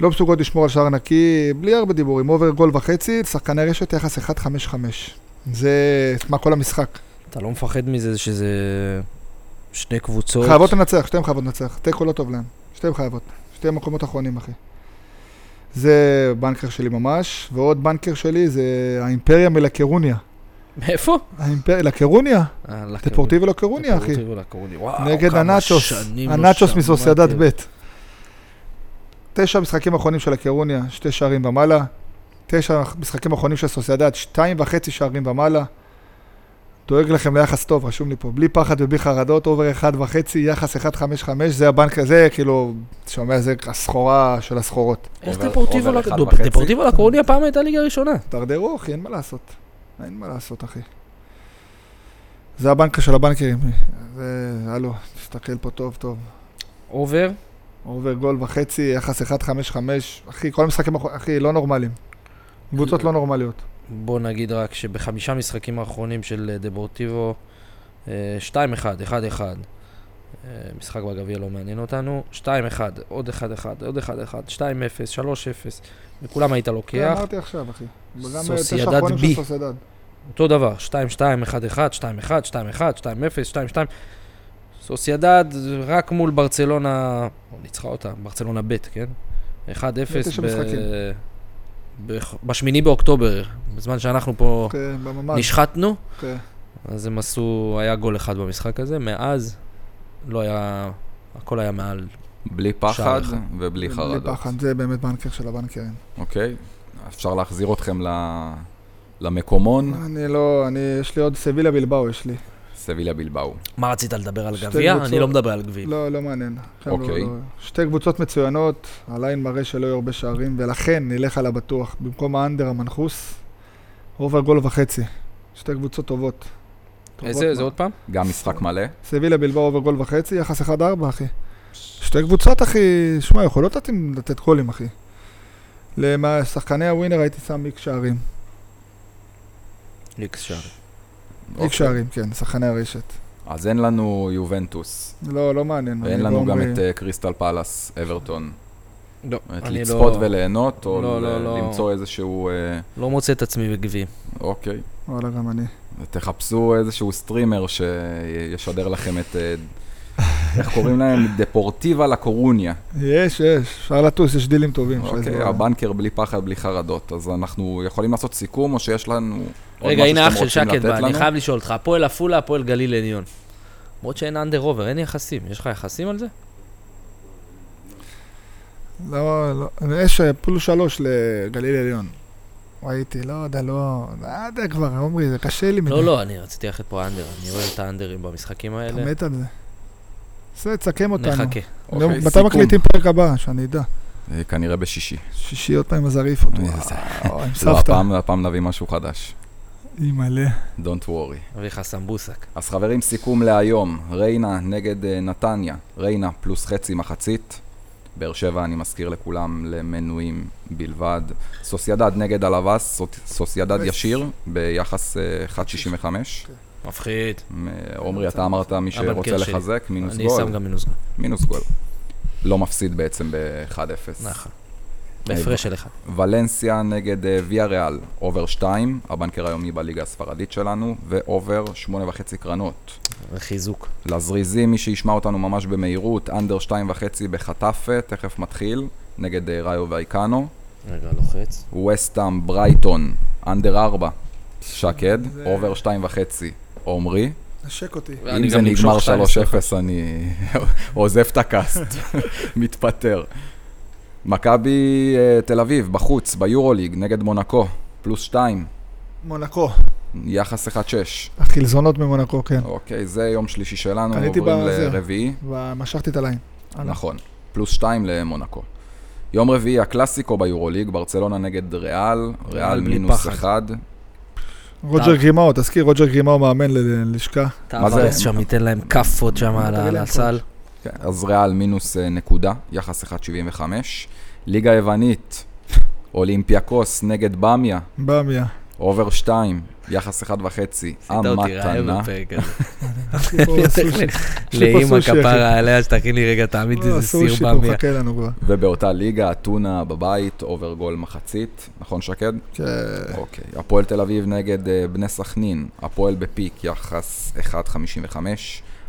Speaker 2: לא מסוגלות לשמור על שער נקי, בלי הרבה דיבורים. אובר גול וחצי, שחקני רשת יחס 1-5-5. זה, מה, כל המשחק.
Speaker 3: אתה לא מפחד מזה שזה שני קבוצות?
Speaker 2: חייבות לנצח, שתיהן חייבות לנצח. תיקו לא טוב להן. שתיהן חייבות. שתיהן מקומות אחרונים, אחי. זה בנקר שלי ממש, ועוד בנקר שלי זה האימפריה מלקרוניה.
Speaker 3: מאיפה?
Speaker 2: האימפריה, לקרוניה?
Speaker 3: אה, לקרוניה.
Speaker 2: דפורטיבי לקרוניה, אחי.
Speaker 3: דפורטיבו לקרוניה. וואו,
Speaker 2: נגד
Speaker 3: כמה
Speaker 2: הנאצ'וס,
Speaker 3: שנים לא
Speaker 2: הנאצ'וס
Speaker 3: שמעתי.
Speaker 2: מסוסיידד ב'. תשע משחקים אחרונים של הקרוניה, שתי שערים ומעלה. תשע משחקים אחרונים של סוסיידד, שתיים וחצי שערים ומעלה. דואג לכם ליחס טוב, רשום לי פה. בלי פחד ובלי חרדות, אובר אחד וחצי, יחס 1.55, זה הבנק הזה, כאילו, אתה שומע, זה הסחורה של הסחורות.
Speaker 3: איך
Speaker 1: עובר-
Speaker 3: דפורטיבו
Speaker 1: עובר
Speaker 3: לק-
Speaker 1: אחד
Speaker 3: דופ-
Speaker 1: וחצי.
Speaker 3: דפורטיבו לקרוניה פעם הייתה ליגה ראשונה.
Speaker 2: תרדרו, אחי, אין מה לעשות. אין מה לעשות, אחי. זה הבנקה של הבנקרים. זה, הלו, תסתכל פה טוב טוב.
Speaker 3: אובר.
Speaker 2: אובר גול וחצי, יחס 1-5-5, אחי, כל המשחקים, האחרונים- אחי, לא נורמליים. קבוצות לא נורמליות.
Speaker 3: כן, בוא נגיד רק שבחמישה משחקים האחרונים של אה, דבורטיבו, אה, 2-1, 1-1. אה, משחק בגביע לא מעניין אותנו, 2-1, עוד 1-1, עוד 1-1, 2-0, 3-0, וכולם היית
Speaker 2: כן,
Speaker 3: לוקח,
Speaker 2: אמרתי עכשיו, אחי. וגם אה,
Speaker 3: סוסיידד
Speaker 2: תשע האחרונים של
Speaker 3: בי.
Speaker 2: סוסיידד.
Speaker 3: אותו דבר, 2-2, 1-1, 2-1, 2-1, 2-0, 2-2. סוסיידד רק מול ברצלונה, או, ניצחה אותה, ברצלונה ב', כן? 1-0
Speaker 2: בתשע
Speaker 3: ב-
Speaker 2: משחקים.
Speaker 3: בח- בשמיני באוקטובר, בזמן שאנחנו פה
Speaker 2: כן, בממ"ד.
Speaker 3: נשחטנו.
Speaker 2: כן.
Speaker 3: אז הם עשו, היה גול אחד במשחק הזה, מאז לא היה, הכל היה מעל.
Speaker 1: בלי פחד
Speaker 3: שער אחד.
Speaker 1: ובלי
Speaker 2: בלי
Speaker 1: חרדות.
Speaker 2: פחד, זה באמת בנקר של הבנקרים.
Speaker 1: אוקיי? אפשר להחזיר אתכם ל- למקומון,
Speaker 3: נכון.
Speaker 2: אני לא, אני, יש לי עוד סבילה בלבאו, יש לי.
Speaker 1: סביליה בלבאו.
Speaker 3: מה רצית לדבר על
Speaker 2: שתי
Speaker 3: גביע?
Speaker 2: קבוצות.
Speaker 3: אני לא מדבר על גביע.
Speaker 2: לא, לא מעניין. עכשיו לא-
Speaker 1: אוקיי.
Speaker 2: לא- שתי קבוצות מצוינות, הליין מראה שלא יהיו הרבה שערים, ולכן נלך על הבטוח. במקום האנדר המנחוס, אובר גול וחצי. שתי קבוצות טובות. טובות
Speaker 3: איזה, זה
Speaker 2: מאוד.
Speaker 3: עוד פעם?
Speaker 1: גם משחק מלא.
Speaker 2: סבילה בלבאו אובר גול וחצי, יחס 1-4, אחי. שתי קבוצות, אחי, שמע, יכולות לתת, לתת גולים, אחי. לשחקני הווינר הייתי שם איקס שערים.
Speaker 3: איקס שער.
Speaker 1: אוקיי.
Speaker 2: איקס שערים, כן, שחקני הרשת.
Speaker 1: אז אין לנו יובנטוס,
Speaker 2: לא, לא מעניין.
Speaker 1: ואין
Speaker 2: אני
Speaker 1: לנו גם אה,
Speaker 2: בעומרי-
Speaker 1: את אה, קריסטל פלאס, אברטון.
Speaker 3: לא,
Speaker 1: זאת אומרת,
Speaker 3: אני
Speaker 1: לצפות
Speaker 3: לא-
Speaker 1: וליהנות, או
Speaker 3: לא, לא,
Speaker 1: ל-
Speaker 3: לא.
Speaker 1: למצוא איזשהו... אה,
Speaker 3: לא מוצא את עצמי בגביעים.
Speaker 1: אוקיי.
Speaker 2: וואלה, גם אני.
Speaker 1: תחפשו איזשהו סטרימר שישדר לכם את... אה, איך קוראים להם? <laughs> דפורטיבה לה קורוניה.
Speaker 2: יש, יש, אפשר לטוס, יש דילים טובים. אפשר
Speaker 1: אוקיי,
Speaker 2: לזרוע.
Speaker 1: הבנקר בלי פחד, בלי חרדות. אז אנחנו יכולים לעשות סיכום, או שיש לנו... עוד
Speaker 3: רגע,
Speaker 1: משהו
Speaker 3: הנה
Speaker 1: שאתם
Speaker 3: אח של
Speaker 1: רוצים לתת
Speaker 3: שקד בא, אני
Speaker 1: לנו?
Speaker 3: חייב לשאול אותך, הפועל עפולה, הפועל גליל עליון. למרות שאין אנדר עובר, אין יחסים. יש לך יחסים על זה?
Speaker 2: לא, לא, יש אה, פלוס שלוש לגליל עליון. ראיתי, לא יודע, לא, לא יודע כבר, עומרי, זה קשה לי.
Speaker 3: לא,
Speaker 2: מדי.
Speaker 3: לא, אני רציתי ללכת פה אנדר, אני אוהב את האנדרים במשחקים
Speaker 2: אתה
Speaker 3: האלה.
Speaker 2: מת על זה. בסדר, תסכם אותנו.
Speaker 3: נחכה.
Speaker 2: נו,
Speaker 1: אוקיי,
Speaker 2: מתי
Speaker 1: סיכום.
Speaker 2: מקליטים פרק הבא? שאני אדע.
Speaker 1: אה, כנראה בשישי.
Speaker 2: שישי עוד פעם אז אעריף אותו.
Speaker 1: איזה-
Speaker 2: וואו, עם
Speaker 1: לא,
Speaker 2: סבתא.
Speaker 1: הפעם, הפעם נביא משהו חדש.
Speaker 2: אימא'לה.
Speaker 1: Don't worry.
Speaker 3: אביא לך סמבוסק.
Speaker 1: אז חברים, סיכום להיום. ריינה נגד אה, נתניה. ריינה פלוס חצי מחצית. באר שבע, אני מזכיר לכולם, למנויים בלבד. סוסיידד נגד הלבס, סוט- סוסיידד
Speaker 2: אוי.
Speaker 1: ישיר, ביחס אה, 1.65.
Speaker 3: מפחיד.
Speaker 1: אה, עמרי, אתה אמרת מי שרוצה
Speaker 3: הבנקר שלי.
Speaker 1: לחזק, מינוס
Speaker 3: אני שם
Speaker 1: גול.
Speaker 3: גם מינוס גול.
Speaker 1: מינוס גול. לא מפסיד בעצם ב-1-0.
Speaker 3: נכון. בהפרש של אחד.
Speaker 1: ולנסיה נגד אה, ויה ריאל, אובר 2, הבנקר היומי בליגה הספרדית שלנו, ואובר 8.5 קרנות.
Speaker 3: חיזוק.
Speaker 1: לזריזים, מי שישמע אותנו ממש במהירות, אנדר 2.5 בחטאפה, תכף מתחיל, נגד אה, ראיו ואיקano.
Speaker 3: רגע, לוחץ.
Speaker 1: ווסטאם ברייטון, אנדר 4, שקד,
Speaker 2: זה-
Speaker 1: אובר 2.5, עומרי.
Speaker 2: נשק אותי.
Speaker 1: אם זה נגמר 3-0, אני <laughs> עוזב את הקאסט, <laughs> מתפטר. מכבי אה, תל אביב, בחוץ, ביורוליג, נגד מונקו, פלוס 2,
Speaker 2: מונקו.
Speaker 1: יחס 1-6.
Speaker 2: החלזונות ממונקו, כן.
Speaker 1: אוקיי, זה יום שלישי שלנו,
Speaker 2: קניתי
Speaker 1: עוברים
Speaker 2: בזה.
Speaker 1: לרביעי.
Speaker 2: ומשכתי את הליין. הלאה.
Speaker 1: נכון, פלוס 2 למונקו. יום רביעי, הקלאסיקו ביורוליג, ברצלונה נגד ריאל, ריאל
Speaker 3: בלי
Speaker 1: מינוס 1.
Speaker 3: פחד.
Speaker 2: רוג'ר גרימאו, תזכיר, רוג'ר גרימאו מאמן ל- ללשכה.
Speaker 1: מה זה?
Speaker 3: תעברס שם, ייתן להם כאפות שם על
Speaker 2: תגיד
Speaker 3: ה- על
Speaker 2: להם
Speaker 3: הסל.
Speaker 1: כן, אז ריאל מינוס אה, נקודה, יחס 1.75. ליגה יוונית, אולימפיאקוס נגד במיה,
Speaker 2: באמיה.
Speaker 1: אובר 2, יחס 1.5, המתנה. <laughs>
Speaker 2: יש לי פה סושי. יש לי פה
Speaker 3: לאימא
Speaker 2: סושי, אחי.
Speaker 3: כפרה עליה, שתכין לי רגע, תעמיד
Speaker 2: לא,
Speaker 3: איזה סיר
Speaker 2: הסושי פה
Speaker 3: במיה.
Speaker 2: מחכה לנו כבר.
Speaker 1: ובאותה ליגה, אתונה בבית, אובר גול מחצית, נכון שקד?
Speaker 2: כן.
Speaker 1: אוקיי. הפועל תל אביב נגד אה, בני סכנין, הפועל בפיק, יחס 1.55.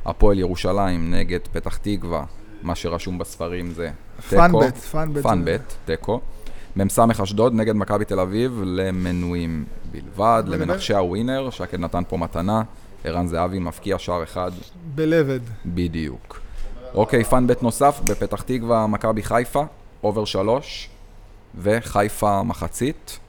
Speaker 1: הפועל ירושלים נגד פתח תקווה, מה שרשום בספרים זה תיקו.
Speaker 2: פאנבט, פאנבט.
Speaker 1: פאנבט, תיקו. מ"ס אשדוד נגד מכבי תל אביב למנויים בלבד,
Speaker 2: אבל
Speaker 1: למנחשי הווינר, שקד נתן פה מתנה, ערן זהבי מפקיע שער אחד
Speaker 2: בלבד.
Speaker 1: בדיוק. אוקיי, פאנבט נוסף, בפתח תקווה, מכבי חיפה, אובר שלוש, וחיפה מחצית.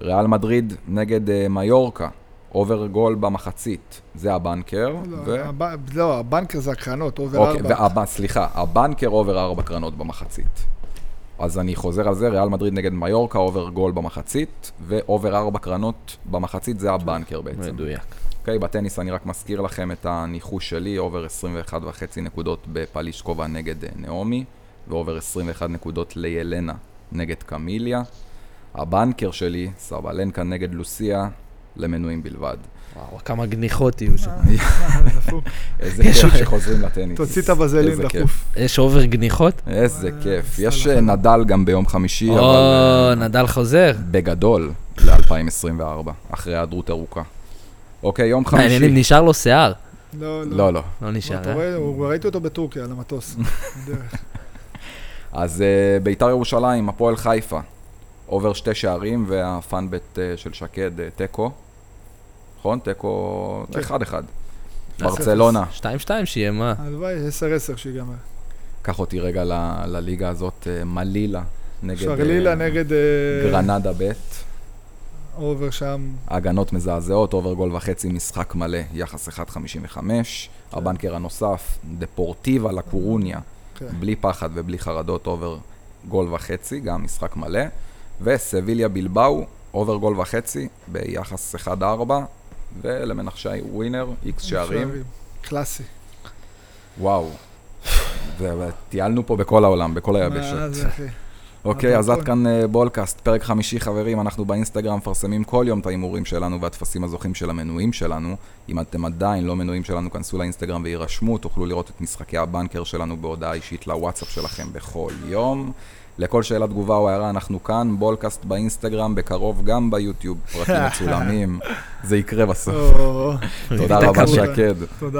Speaker 1: ריאל מדריד נגד אה, מיורקה, אובר גול במחצית, זה הבנקר.
Speaker 2: לא,
Speaker 1: ו-
Speaker 2: הב- לא, הבנקר זה הקרנות, אובר
Speaker 1: אוקיי,
Speaker 2: ארבע.
Speaker 1: והבא, סליחה, הבנקר אובר ארבע קרנות במחצית. אז אני חוזר על זה, ריאל מדריד נגד מיורקה, אובר גול במחצית, ואובר ארבע קרנות במחצית, זה הבנקר בעצם.
Speaker 3: מדויק.
Speaker 1: אוקיי, בטניס אני רק מזכיר לכם את הניחוש שלי, אובר 21 וחצי נקודות בפלישקובה נגד אה, נעמי, ואובר 21 נקודות לילנה נגד קמיליה. הבנקר שלי, סבלנקה נגד לוסיה, למנויים בלבד.
Speaker 3: וואו, כמה גניחות יהיו שם.
Speaker 2: אה, דפוק.
Speaker 1: איזה
Speaker 3: יש
Speaker 1: כיף
Speaker 3: עוד-
Speaker 1: שחוזרים לטניס.
Speaker 2: תוציא את הבזלין
Speaker 1: איזה כיף.
Speaker 2: דחוף.
Speaker 3: יש אובר גניחות?
Speaker 1: איזה
Speaker 2: אה,
Speaker 1: כיף.
Speaker 2: סלאח.
Speaker 1: יש אה, נדל גם ביום חמישי, אבל
Speaker 3: או,
Speaker 1: אה,
Speaker 3: נדל חוזר.
Speaker 1: בגדול ל-2024, אחרי היעדרות ארוכה. אוקיי, יום
Speaker 3: מעניינים,
Speaker 1: חמישי.
Speaker 3: נשאר לו שיער.
Speaker 2: <laughs> לא, לא.
Speaker 1: לא, לא.
Speaker 3: לא
Speaker 2: לא,
Speaker 3: נשאר,
Speaker 2: אתה
Speaker 3: אה?
Speaker 2: רואה, הוא- ראיתי אותו בטורקיה, על המטוס. בדרך.
Speaker 1: אז אה, ביתר ירושלים, הפועל חיפה, עובר שתי שערים, והפאנבט אה, של שקד, אה, תיקו. נכון? תיקו
Speaker 2: כן.
Speaker 1: 1-1. ברצלונה,
Speaker 3: 2-2 שיהיה, מה?
Speaker 2: הלוואי, 10-10 שיגמר.
Speaker 1: קח אותי רגע ל- לליגה הזאת, אה, מלילה, נגד אה,
Speaker 2: שרלילה נגד... אה,
Speaker 1: גרנדה ב'.
Speaker 2: אובר שם.
Speaker 1: הגנות מזעזעות, אובר גול וחצי, משחק מלא, יחס 1.55. הבנקר הנוסף, דפורטיבה לקורוניה,
Speaker 2: כן.
Speaker 1: בלי פחד ובלי חרדות, אובר גול וחצי, גם משחק מלא. וסביליה בלבאו, אובר גול וחצי, ביחס 1.4. ולמנחשי ווינר, איקס שערים.
Speaker 2: קלאסי.
Speaker 1: וואו. ו- וטיילנו פה בכל העולם, בכל
Speaker 2: מה
Speaker 1: היבשת.
Speaker 2: זה, אחי?
Speaker 1: אוקיי, אז עד
Speaker 2: הדרכון.
Speaker 1: כאן אה, בולקאסט, פרק חמישי חברים, אנחנו באינסטגרם מפרסמים כל יום את ההימורים שלנו והטפסים הזוכים של המנויים שלנו. אם אתם עדיין לא מנויים שלנו, כנסו לאינסטגרם ויירשמו, תוכלו לראות את משחקי הבנקר שלנו בהודעה אישית לוואטסאפ שלכם בכל יום. לכל שאלה, תגובה או הערה, אנחנו כאן, בולקאסט באינסטגרם, בקרוב גם ביוטיוב, פרקים מצולמים, זה יקרה בסוף.
Speaker 2: או,
Speaker 1: תודה רבה
Speaker 2: התעקשת.
Speaker 1: שקד.
Speaker 2: תודה